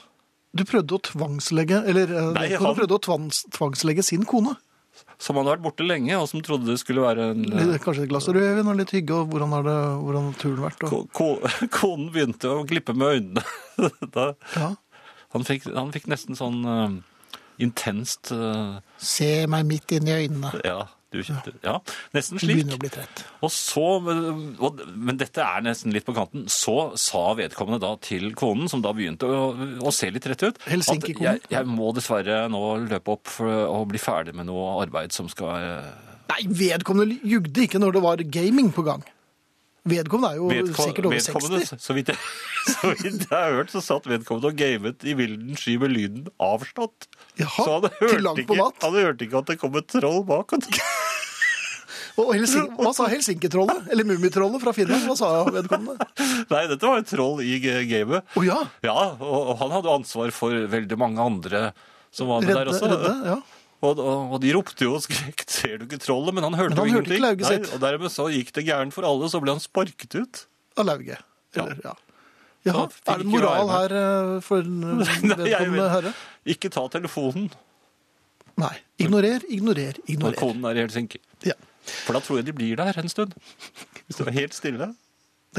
[SPEAKER 1] Du prøvde å tvangslegge eller, eh,
[SPEAKER 2] Nei,
[SPEAKER 1] vedkommende
[SPEAKER 2] han-
[SPEAKER 1] prøvde å tvangs, tvangslegge sin kone.
[SPEAKER 2] Som hadde vært borte lenge, og som trodde det skulle være en eh,
[SPEAKER 1] Litt, kanskje et glass rødvin og litt hygge, og hvordan har, det, hvordan har turen vært? Og,
[SPEAKER 2] Ko- ko- Konen begynte å glippe med øynene. Da,
[SPEAKER 1] ja.
[SPEAKER 2] han, fikk, han fikk nesten sånn eh, intenst eh,
[SPEAKER 1] Se meg midt inn i øynene.
[SPEAKER 2] Ja, du kjente Ja, nesten
[SPEAKER 1] Du
[SPEAKER 2] slik.
[SPEAKER 1] begynner å bli trett.
[SPEAKER 2] Og så, og, men dette er nesten litt på kanten, så sa vedkommende da til konen, som da begynte å, å se litt rett ut, at
[SPEAKER 1] Helsinki-konen.
[SPEAKER 2] jeg, jeg må dessverre nå løpe opp for å bli ferdig med noe arbeid som skal eh,
[SPEAKER 1] Nei, vedkommende jugde ikke når det var gaming på gang. Vedkommende er jo
[SPEAKER 2] Vedko-
[SPEAKER 1] sikkert over
[SPEAKER 2] vedkommende,
[SPEAKER 1] 60.
[SPEAKER 2] Så vidt, jeg, så vidt jeg har hørt, så satt vedkommende og gamet i vilden sky med lyden avslått.
[SPEAKER 1] Jaha,
[SPEAKER 2] så han
[SPEAKER 1] til
[SPEAKER 2] hørte,
[SPEAKER 1] langt på
[SPEAKER 2] ikke,
[SPEAKER 1] natt.
[SPEAKER 2] han hørte ikke at det kom et troll bak. Og
[SPEAKER 1] Og Helsing, hva sa Helsinki-trollet? Eller Mummitrollet fra Finland? Hva sa vedkommende?
[SPEAKER 2] Nei, dette var et troll i g- gamet.
[SPEAKER 1] Å ja,
[SPEAKER 2] Ja, og, og han hadde ansvar for veldig mange andre som var med
[SPEAKER 1] redde,
[SPEAKER 2] der også.
[SPEAKER 1] redde, ja.
[SPEAKER 2] Og, og, og de ropte jo og skrek 'ser du ikke trollet', men han hørte
[SPEAKER 1] Men han
[SPEAKER 2] jo
[SPEAKER 1] hørte ikke
[SPEAKER 2] ingenting.
[SPEAKER 1] lauget
[SPEAKER 2] Nei,
[SPEAKER 1] sitt.
[SPEAKER 2] og dermed så gikk det gærent for alle, så ble han sparket ut.
[SPEAKER 1] Av lauget. Eller, ja. Jaha,
[SPEAKER 2] Da fikk
[SPEAKER 1] er det
[SPEAKER 2] ikke
[SPEAKER 1] moral
[SPEAKER 2] være
[SPEAKER 1] her eh, for den eh,
[SPEAKER 2] Nei, jeg
[SPEAKER 1] vedkommende
[SPEAKER 2] vet-
[SPEAKER 1] herre?
[SPEAKER 2] Ikke ta telefonen
[SPEAKER 1] Nei. Ignorer, ignorer,
[SPEAKER 2] når
[SPEAKER 1] ignorer.
[SPEAKER 2] konen er i Helsinki.
[SPEAKER 1] Ja.
[SPEAKER 2] For da tror jeg de blir der en stund. Hvis det var helt stille.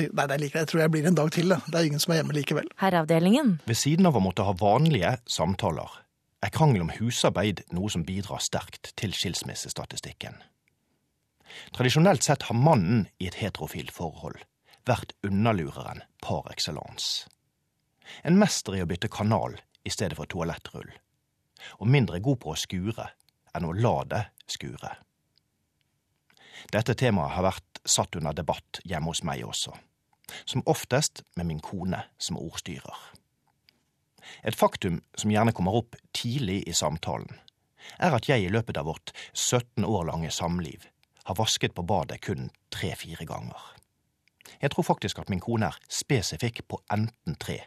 [SPEAKER 1] Nei, det er like, jeg tror jeg blir en dag til. da. Det er ingen som er hjemme likevel.
[SPEAKER 3] Herreavdelingen.
[SPEAKER 4] Ved siden av å måtte ha vanlige samtaler er krangel om husarbeid noe som bidrar sterkt til skilsmissestatistikken. Tradisjonelt sett har mannen i et heterofilt forhold vært underlureren par excellence. En mester i å bytte kanal i stedet for toalettrull, og mindre god på å skure enn å la det skure. Dette temaet har vært satt under debatt hjemme hos meg også, som oftest med min kone som ordstyrer. Et faktum som gjerne kommer opp tidlig i samtalen, er at jeg i løpet av vårt 17 år lange samliv har vasket på badet kun tre-fire ganger. Jeg tror faktisk at min kone er spesifikk på enten tre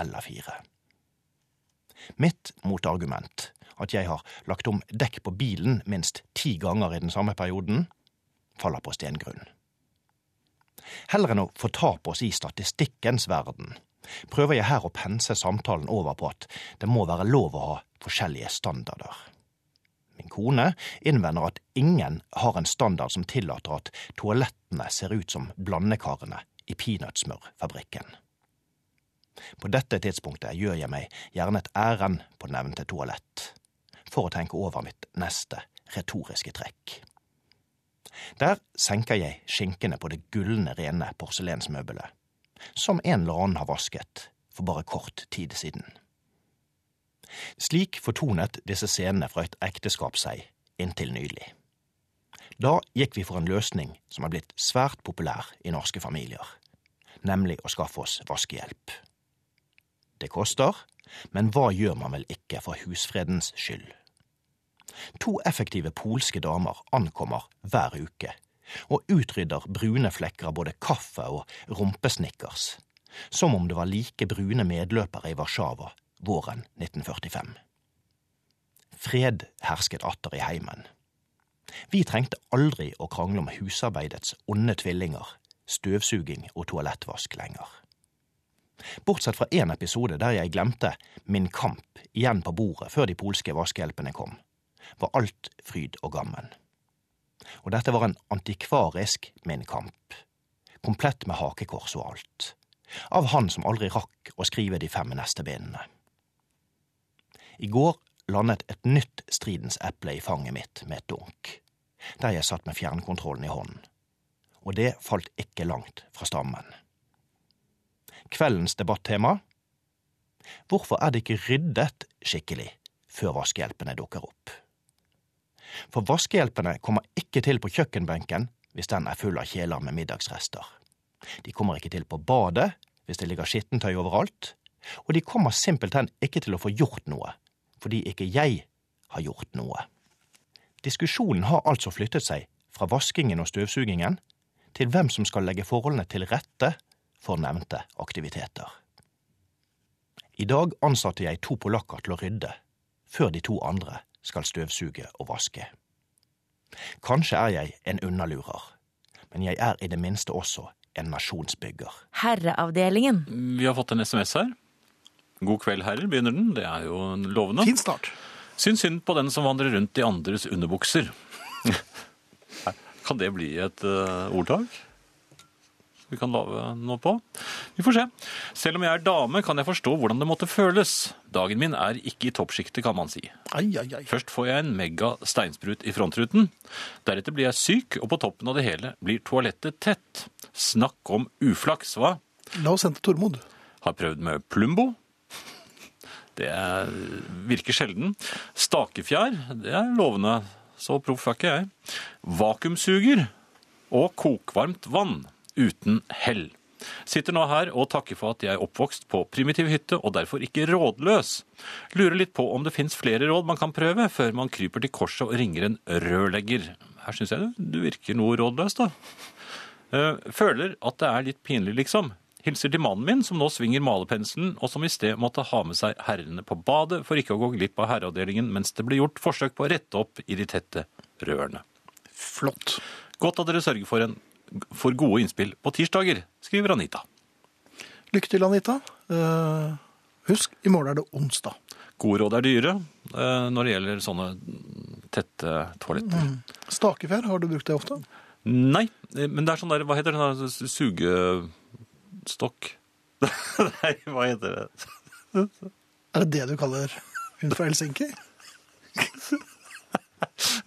[SPEAKER 4] eller fire. Mitt motargument, at jeg har lagt om dekk på bilen minst ti ganger i den samme perioden, faller på stengrunn. Heller enn å fortape oss i statistikkens verden, prøver jeg her å pense samtalen over på at det må være lov å ha forskjellige standarder. Min kone innvender at ingen har en standard som tillater at toalettene ser ut som blandekarene i peanøttsmørfabrikken. På dette tidspunktet gjør jeg meg gjerne et ærend på nevnte toalett, for å tenke over mitt neste retoriske trekk. Der senker jeg skinkene på det gullende rene porselensmøbelet, som en eller annen har vasket for bare kort tid siden. Slik fortonet disse scenene fra et ekteskap seg inntil nylig. Da gikk vi for en løsning som er blitt svært populær i norske familier, nemlig å skaffe oss vaskehjelp. Det koster, men hva gjør man vel ikke for husfredens skyld? To effektive polske damer ankommer hver uke og utrydder brune flekker av både kaffe og rumpesnickers, som om det var like brune medløpere i Warszawa våren 1945. Fred hersket atter i heimen. Vi trengte aldri å krangle om husarbeidets onde tvillinger, støvsuging og toalettvask lenger. Bortsett fra én episode der jeg glemte Min kamp igjen på bordet før de polske vaskehjelpene kom var alt fryd og gammen. Og dette var en antikvarisk Min Kamp, komplett med hakekors og alt, av han som aldri rakk å skrive de fem neste bindene. I går landet et nytt Stridens eple i fanget mitt med et dunk, der jeg satt med fjernkontrollen i hånden, og det falt ikke langt fra stammen. Kveldens debattema Hvorfor er det ikke ryddet skikkelig før vaskehjelpene dukker opp? For vaskehjelpene kommer ikke til på kjøkkenbenken hvis den er full av kjeler med middagsrester. De kommer ikke til på badet hvis det ligger skittentøy overalt, og de kommer simpelthen ikke til å få gjort noe fordi ikke jeg har gjort noe. Diskusjonen har altså flyttet seg fra vaskingen og støvsugingen til hvem som skal legge forholdene til rette for nevnte aktiviteter. I dag ansatte jeg to polakker til å rydde, før de to andre skal støvsuge og vaske. Kanskje er jeg en unnalurer, men jeg er i det minste også en nasjonsbygger.
[SPEAKER 3] Herreavdelingen.
[SPEAKER 2] Vi har fått en SMS her. God kveld, herrer, begynner den. Det er jo lovende.
[SPEAKER 1] Fin start.
[SPEAKER 2] Syns synd på den som vandrer rundt i andres underbukser. kan det bli et eh, ordtak? Vi kan lage noe på. Vi får se. Selv om jeg er dame, kan jeg forstå hvordan det måtte føles. Dagen min er ikke i toppsjiktet, kan man si.
[SPEAKER 1] Ai, ai, ai.
[SPEAKER 2] Først får jeg en mega steinsprut i frontruten. Deretter blir jeg syk, og på toppen av det hele blir toalettet tett. Snakk om uflaks, hva?
[SPEAKER 1] La oss sende til Tormod.
[SPEAKER 2] Har prøvd med Plumbo. Det er- virker sjelden. Stakefjær, det er lovende. Så proff er ikke jeg. Vakuumsuger og kokvarmt vann uten hell. Sitter nå her og takker for at jeg er oppvokst på primitiv hytte og derfor ikke rådløs. Lurer litt på om det fins flere råd man kan prøve før man kryper til korset og ringer en rørlegger. Her syns jeg du- du virker noe rådløs, da. Eh, Føler at det er litt pinlig, liksom. Hilser til mannen min, som nå svinger malerpenselen, og som i sted måtte ha med seg herrene på badet for ikke å gå glipp av herreavdelingen mens det ble gjort forsøk på å rette opp i de tette rørene.
[SPEAKER 1] Flott.
[SPEAKER 2] Godt at dere sørger for, en, for gode innspill på tirsdager, skriver Anita.
[SPEAKER 1] Lykke til, Anita. Eh, husk, i morgen er det onsdag.
[SPEAKER 2] Gode råd er dyre eh, når det gjelder sånne tette toaletter.
[SPEAKER 1] Stakefjær, har du brukt det ofte?
[SPEAKER 2] Nei, eh, men det er sånn der Hva heter den der s- sugestokk? Nei, hva heter det?
[SPEAKER 1] Er det det du kaller hun fra Helsinki?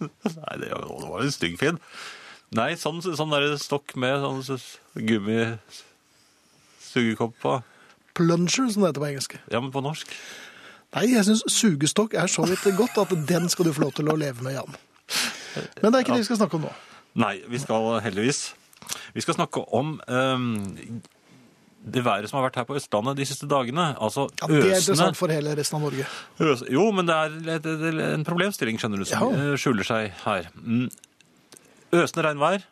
[SPEAKER 2] Nei, det var det var en stygg fin. Nei, sånn, sånn der stokk med sånn s- gummisugekopp på.
[SPEAKER 1] Plunger, som det heter på engelsk.
[SPEAKER 2] Ja, men på norsk.
[SPEAKER 1] Nei, jeg syns sugestokk er så vidt godt at den skal du få lov til å leve med, Jan. Men det er ikke det vi skal snakke om nå.
[SPEAKER 2] Nei, vi skal heldigvis. Vi skal snakke om ehm, det været som har vært her på Østlandet de siste dagene. Altså
[SPEAKER 1] Ja, det er
[SPEAKER 2] øsende
[SPEAKER 1] interessant for hele resten av Norge.
[SPEAKER 2] Øs- Jo, men det er et- et- en problemstilling, skjønner du,
[SPEAKER 1] Ja.
[SPEAKER 2] som eh, skjuler seg her. Mm. Øsende regnvær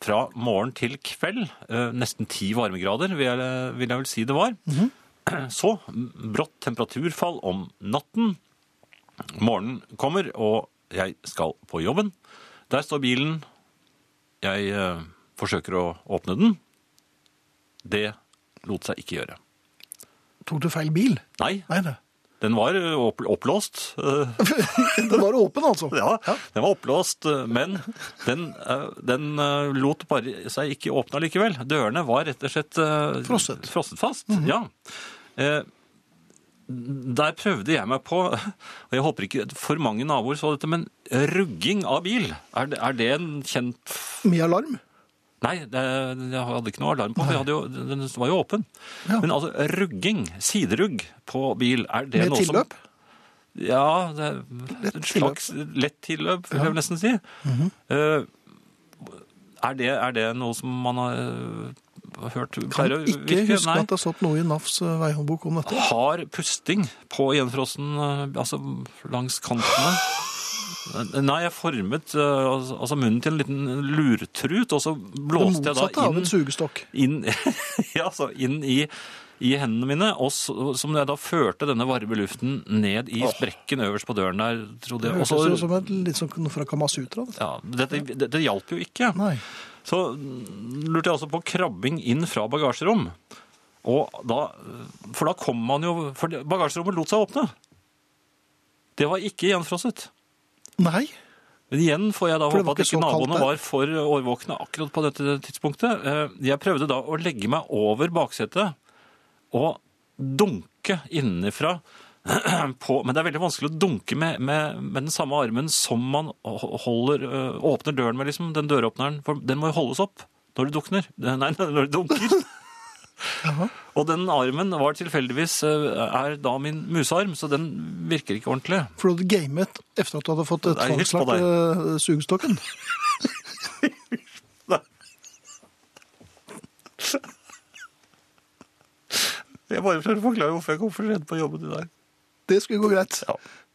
[SPEAKER 2] fra morgen til kveld. eh, Nesten ti varmegrader, vil jeg, vil jeg vel si det var. Så mm, brått temperaturfall om natten. Morgenen kommer, og jeg skal på jobben. Der står bilen. Jeg eh, forsøker å åpne den. Det lot seg ikke gjøre.
[SPEAKER 1] Tok du feil bil?
[SPEAKER 2] Nei,
[SPEAKER 1] Nei, nei.
[SPEAKER 2] den var eh, opp opplåst. eh,
[SPEAKER 1] Den var åpen, altså.
[SPEAKER 2] Ja, den var opplåst, men den, eh, den eh, lot bare seg ikke åpne likevel. Dørene var rett og slett eh,
[SPEAKER 1] Frosset. Mhm.
[SPEAKER 2] fast. ja. Eh, Der prøvde jeg meg på, og jeg håper ikke for mange naboer så dette, men rugging av bil. Er det, er det en kjent
[SPEAKER 1] Med alarm?
[SPEAKER 2] Nei, det, jeg hadde ikke noe alarm på, for jeg hadde jo, den var jo åpen.
[SPEAKER 1] Ja.
[SPEAKER 2] Men altså, rugging, siderugg på bil, er det
[SPEAKER 1] Med
[SPEAKER 2] noe som
[SPEAKER 1] tilløp?
[SPEAKER 2] ja, det er
[SPEAKER 1] Lett Mhm.
[SPEAKER 2] et slags lett tilløp, vil jeg nesten si. Eh, er, det, er det noe som man har eh, hørt
[SPEAKER 1] Kan
[SPEAKER 2] pleier å
[SPEAKER 1] ikke
[SPEAKER 2] virke?
[SPEAKER 1] huske
[SPEAKER 2] Nei.
[SPEAKER 1] at det har stått noe i NAFs eh, veihåndbok om dette.
[SPEAKER 2] Hard pusting på gjenfrossen, eh, altså langs kantene. Nei, jeg formet eh, altså altså munnen til en liten lurtrut, og så
[SPEAKER 1] Det
[SPEAKER 2] blåste jeg da
[SPEAKER 1] motsatte av
[SPEAKER 2] inn
[SPEAKER 1] en sugestokk.
[SPEAKER 2] inn, ja, altså, inn i, i hendene mine, og så, som jeg da førte denne varme luften ned i sprekken øverst på døren der, trodde
[SPEAKER 1] Det
[SPEAKER 2] jeg. Og
[SPEAKER 1] hørtes jo
[SPEAKER 2] så,
[SPEAKER 1] som et, litt som fra Kamasutra. det.
[SPEAKER 2] ja, dette, dette hjalp jo ikke.
[SPEAKER 1] Nei.
[SPEAKER 2] Så lurte jeg også på krabbing inn fra bagasjerom. Og da, for da kom man jo, for det- bagasjerommet lot seg åpne. Det var ikke gjenfrosset.
[SPEAKER 1] Nei.
[SPEAKER 2] Men igjen får jeg da
[SPEAKER 1] For det
[SPEAKER 2] håpe
[SPEAKER 1] var
[SPEAKER 2] at
[SPEAKER 1] ikke så
[SPEAKER 2] ikke
[SPEAKER 1] kaldt
[SPEAKER 2] naboene
[SPEAKER 1] der.
[SPEAKER 2] var for årvåkne akkurat på dette tidspunktet. Eh, Jeg prøvde da å legge meg over baksetet og dunke innenfra på Men det er veldig vanskelig å dunke med, med, med den samme armen som man holder, eh, åpner døren med, liksom, den døråpneren. For den må jo holdes opp når du dukner. Nei, når du dunker.
[SPEAKER 1] Jaha.
[SPEAKER 2] Og den armen var tilfeldigvis eh, er da min musearm, så den virker ikke ordentlig.
[SPEAKER 1] For du hadde gamet etter at du hadde fått eh,
[SPEAKER 2] Nei, hysj på
[SPEAKER 1] tvangslagt eh, sugestokken.
[SPEAKER 2] Jeg bare prøver å forklare hvorfor jeg kom for sent på jobben i dag.
[SPEAKER 1] Det skulle gå greit.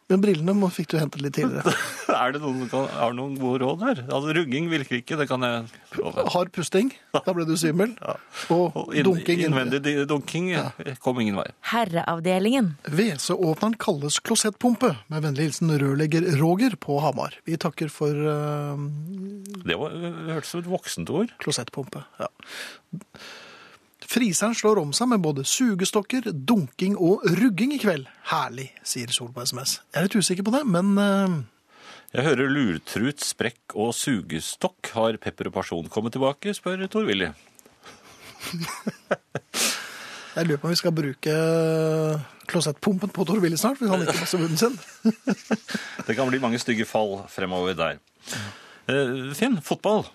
[SPEAKER 1] Men brillene må, fikk du hentet litt tidligere.
[SPEAKER 2] Er det noen som kan, har noen gode råd her? Altså, Rugging virker ikke, det kan jeg love.
[SPEAKER 1] Hard pusting, da ble du svimmel.
[SPEAKER 2] Og
[SPEAKER 1] Og
[SPEAKER 2] inn-
[SPEAKER 1] dunking.
[SPEAKER 2] Innvendig di- dunking kom ingen vei.
[SPEAKER 3] Herreavdelingen.
[SPEAKER 1] WC-åpneren kalles klosettpumpe. Med vennlig hilsen rørlegger Roger på Hamar. Vi takker for eh,
[SPEAKER 2] Det var, det hørtes som et voksent ord.
[SPEAKER 1] klosettpumpe. Ja. Friseren slår om seg med både sugestokker, dunking og rugging i kveld. Herlig, sier Sol på SMS. Jeg er litt usikker på det, men eh,
[SPEAKER 2] Jeg hører lurtrut, sprekk og sugestokk. Har pepper og person kommet tilbake, spør Tor-Willy.
[SPEAKER 1] jeg lurer på om vi skal bruke eh, klosettpumpen på Tor Willy snart, hvis han ikke passer munnen sin.
[SPEAKER 2] Det kan bli mange stygge fall fremover der. Eh, Finn, fotball.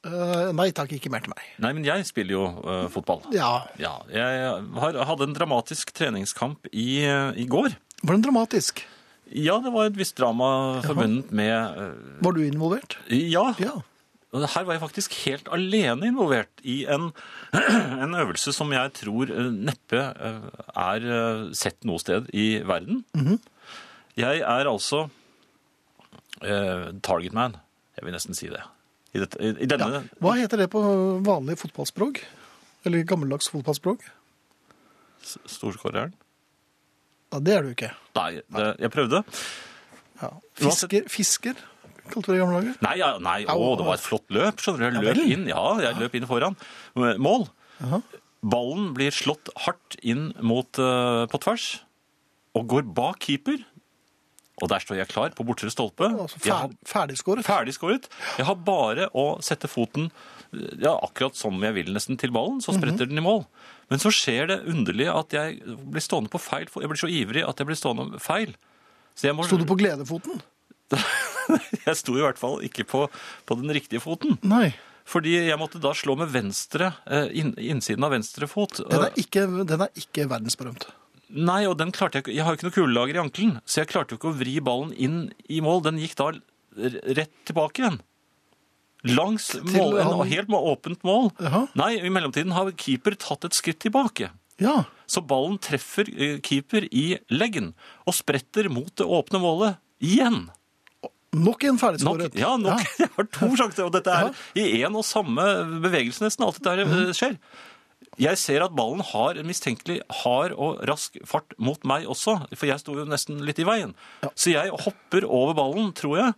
[SPEAKER 1] Eh, nei takk, ikke mer til meg.
[SPEAKER 2] Nei, men jeg spiller jo eh, fotball.
[SPEAKER 1] Ja,
[SPEAKER 2] Ja, jeg har, hadde en dramatisk treningskamp i, eh, i går.
[SPEAKER 1] Var den dramatisk?
[SPEAKER 2] Ja, det var et visst drama forbundet med eh,
[SPEAKER 1] Var du involvert?
[SPEAKER 2] Ja.
[SPEAKER 1] Ja.
[SPEAKER 2] Og Her var jeg faktisk helt alene involvert i en, en øvelse som jeg tror eh, neppe eh, er eh, sett noe sted i verden. Jeg er altså eh, target man. Jeg vil nesten si det. I, dette, i, i denne
[SPEAKER 1] ja. Hva heter det på vanlig fotballspråk? Eller gammeldags fotballspråk?
[SPEAKER 2] s- storskåreren.
[SPEAKER 1] Ja, det er du ikke.
[SPEAKER 2] Nei, det, jeg prøvde.
[SPEAKER 1] Ja. Fisker, fisker, kalte vi det i gamle dager.
[SPEAKER 2] Nei, ja, nei å,
[SPEAKER 1] Au, au.
[SPEAKER 2] det var et flott løp. skjønner du. Jeg
[SPEAKER 1] Ja
[SPEAKER 2] løp
[SPEAKER 1] vel.
[SPEAKER 2] inn, ja, jeg løp inn foran. Eh, Mål. Ballen blir slått hardt inn mot eh, på tvers, og går bak keeper. Og der står jeg klar på bortre stolpe.
[SPEAKER 1] Altså
[SPEAKER 2] Jeg har
[SPEAKER 1] fer, ferdigskåret.
[SPEAKER 2] ferdigskåret. Jeg har bare å sette foten eh, ja, akkurat som jeg vil nesten til ballen, så
[SPEAKER 1] Mhm.
[SPEAKER 2] spretter den i mål. Men så skjer det underlig at jeg blir stående på feil fot. Jeg blir så ivrig at jeg blir stående feil. Så jeg må...
[SPEAKER 1] Sto du på gledefoten?
[SPEAKER 2] Jeg sto i hvert fall ikke på, på den riktige foten.
[SPEAKER 1] Nei.
[SPEAKER 2] Fordi jeg måtte da slå med venstre, eh, inn- innsiden av venstre fot.
[SPEAKER 1] Den er ikke, den er ikke verdensberømt.
[SPEAKER 2] Nei, og den klarte jeg ikke. Jeg har jo ikke noe kulelager i ankelen, så jeg klarte jo ikke å vri ballen inn i mål. Den gikk da r- rett tilbake igjen. Langs mål, en,
[SPEAKER 1] han-
[SPEAKER 2] helt må- åpent mål.
[SPEAKER 1] Jaha.
[SPEAKER 2] Nei, i mellomtiden har keeper tatt et skritt tilbake.
[SPEAKER 1] Ja.
[SPEAKER 2] Så ballen treffer eh, keeper i leggen og spretter mot det åpne målet igjen.
[SPEAKER 1] Nok en
[SPEAKER 2] Nok,
[SPEAKER 1] ferdigskåret.
[SPEAKER 2] ja, nok,
[SPEAKER 1] Ja.
[SPEAKER 2] jeg har to sjanser, og dette er i én og samme bevegelse nesten alt dette her eh, skjer. Jeg ser at ballen har en mistenkelig hard og rask fart mot meg også, for jeg sto jo nesten litt i veien. Så jeg hopper over ballen, tror jeg.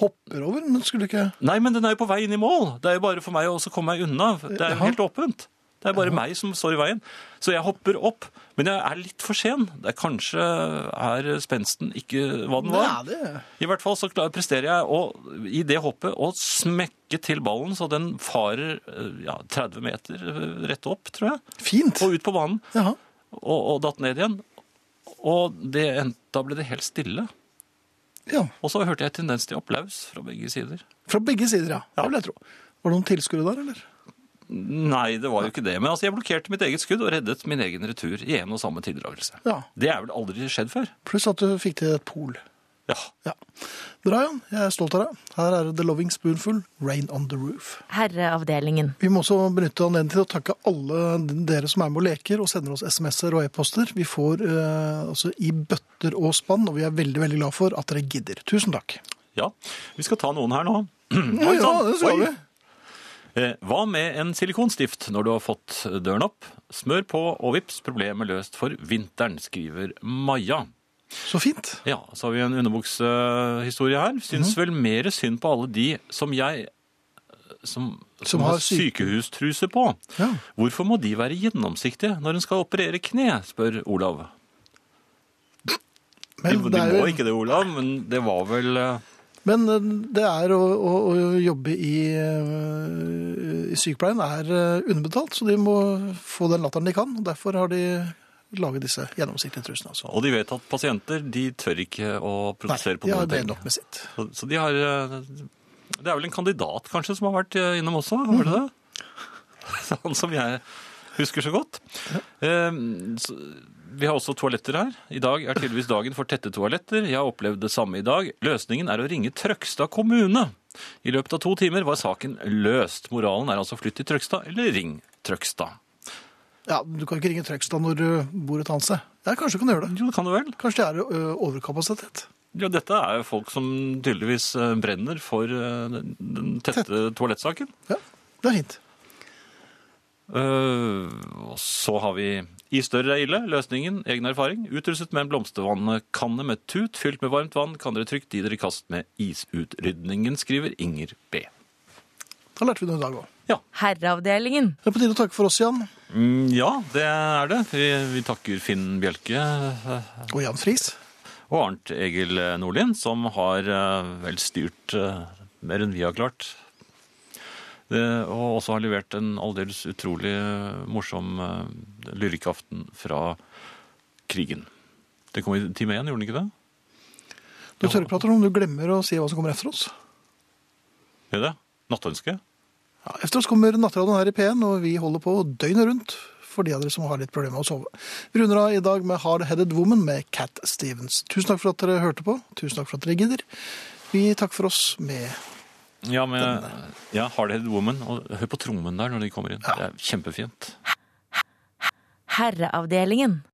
[SPEAKER 1] Hopper over, men skulle du ikke
[SPEAKER 2] Nei, men den er jo på vei inn i mål. Det er jo bare for meg å også komme meg unna. Det er jo helt åpent. Det er bare meg som står i veien. Så jeg hopper opp, men jeg er litt for sen. Det er kanskje er spensten ikke hva den var.
[SPEAKER 1] Nei, det-
[SPEAKER 2] I hvert fall så klar- presterer jeg å, i det hoppet å smekke til ballen, så den farer eh, ja, 30 meter eh, rett opp, tror jeg,
[SPEAKER 1] Fint.
[SPEAKER 2] og ut på banen,
[SPEAKER 1] Jaha.
[SPEAKER 2] og, og datt ned igjen. Og det, en- da ble det helt stille.
[SPEAKER 1] Ja.
[SPEAKER 2] Og så hørte jeg tendens til applaus fra begge sider.
[SPEAKER 1] Fra begge sider, ja.
[SPEAKER 2] Ja.
[SPEAKER 1] Det vil jeg tro. Var det noen tilskuere der, eller?
[SPEAKER 2] Nei, det var jo ikke det, men altså, jeg blokkerte mitt eget skudd og reddet min egen retur i en og samme tildragelse.
[SPEAKER 1] Ja.
[SPEAKER 2] Det er vel aldri skjedd før?
[SPEAKER 1] Pluss at du fikk til et pol.
[SPEAKER 2] Ja.
[SPEAKER 1] Ja. Bra, Jan. Jeg er stolt av deg. Her er The Loving Spoonful, Rain on the Roof.
[SPEAKER 3] Herreavdelingen.
[SPEAKER 1] Vi må også benytte anledningen til å takke alle dere som er med og leker og sender oss SMS-er og e-poster. Vi får eh, altså i bøtter og spann, og vi er veldig veldig glad for at dere gidder. Tusen takk.
[SPEAKER 2] ja. Vi skal ta noen her nå.
[SPEAKER 1] Oi, ja, det
[SPEAKER 2] Oi.
[SPEAKER 1] skal vi.
[SPEAKER 2] Eh, Hva med en silikonstift når du har fått døren opp? Smør på, og vips, problemet løst for vinteren, skriver Maja.
[SPEAKER 1] Så fint.
[SPEAKER 2] Ja, så har vi en underbuksehistorie her. Syns
[SPEAKER 1] Mhm.
[SPEAKER 2] vel mer synd på alle de som jeg som, som,
[SPEAKER 1] Som
[SPEAKER 2] har
[SPEAKER 1] har syke-
[SPEAKER 2] sykehustruse på.
[SPEAKER 1] Ja.
[SPEAKER 2] Hvorfor må de være gjennomsiktige når en skal operere kne, spør Olav.
[SPEAKER 1] Men
[SPEAKER 2] de
[SPEAKER 1] det er,
[SPEAKER 2] må
[SPEAKER 1] jo-
[SPEAKER 2] ikke det, Olav, men det var vel eh,
[SPEAKER 1] men det er å, å, å jobbe i, eh, i sykepleien er eh, underbetalt, så de må få den latteren de kan. og Derfor har de laget disse gjennomsiktige trusene. Altså.
[SPEAKER 2] Og de vet at pasienter de tør ikke å protestere på
[SPEAKER 1] de har
[SPEAKER 2] noen
[SPEAKER 1] det
[SPEAKER 2] ting.
[SPEAKER 1] nok med sitt.
[SPEAKER 2] Så, så de har eh, Det er vel en kandidat kanskje som har vært eh, innom også, var det det? Han som jeg husker så godt. Eh, så, vi har også toaletter her. I dag er tydeligvis dagen for tette toaletter. Jeg har opplevd det samme i dag. Løsningen er å ringe Trøgstad kommune. I løpet av to timer var saken løst. Moralen er altså flytt til Trøgstad, eller ring Trøgstad.
[SPEAKER 1] Ja, Du kan ikke ringe Trøgstad når eh, du bor et annet sted. Ja, kanskje du kan gjøre det.
[SPEAKER 2] Jo, det kan du vel.
[SPEAKER 1] Kanskje det er ø, overkapasitet.
[SPEAKER 2] Ja, dette er jo folk som tydeligvis eh, brenner for eh, den- den tette toalettsaken.
[SPEAKER 1] Ja, Det er fint.
[SPEAKER 2] Eh, og så har vi i større er ille, løsningen, egen erfaring. Utrustet med en blomstervannkanne med tut, fylt med varmt vann, kan dere trygt gi dere i kast med isutrydningen, skriver Inger B.
[SPEAKER 1] Da lærte vi noe i dag òg.
[SPEAKER 3] Herreavdelingen.
[SPEAKER 1] Det er på tide å takke for oss, Jan.
[SPEAKER 2] Mm, ja, det er det. Vi, vi takker Finn Bjelke eh,
[SPEAKER 1] Og Jan Friis.
[SPEAKER 2] og Arnt Egil Nordlien, som har eh, vel styrt eh, mer enn vi har klart. Det, og også har levert en aldeles utrolig eh, morsom eh, lyrikaften fra krigen. Det kom i time én, gjorde den ikke det?
[SPEAKER 1] Du tørrprater om du glemmer å si hva som kommer efter oss.
[SPEAKER 2] Gjør det? Nattønske?
[SPEAKER 1] Ja, efter oss kommer Nattradioen her i P1, og vi holder på døgnet rundt for de av dere som har litt problemer med å sove. Vi runder av i dag med Hard Headed Woman med Cat Stevens. Tusen takk for at dere hørte på. Tusen takk for at dere gidder. Vi takker for oss med
[SPEAKER 2] Ja, med eh, ja, Hardhead Woman. Og hør på trommen der når de kommer inn. Det er kjempefint.
[SPEAKER 3] Herreavdelingen.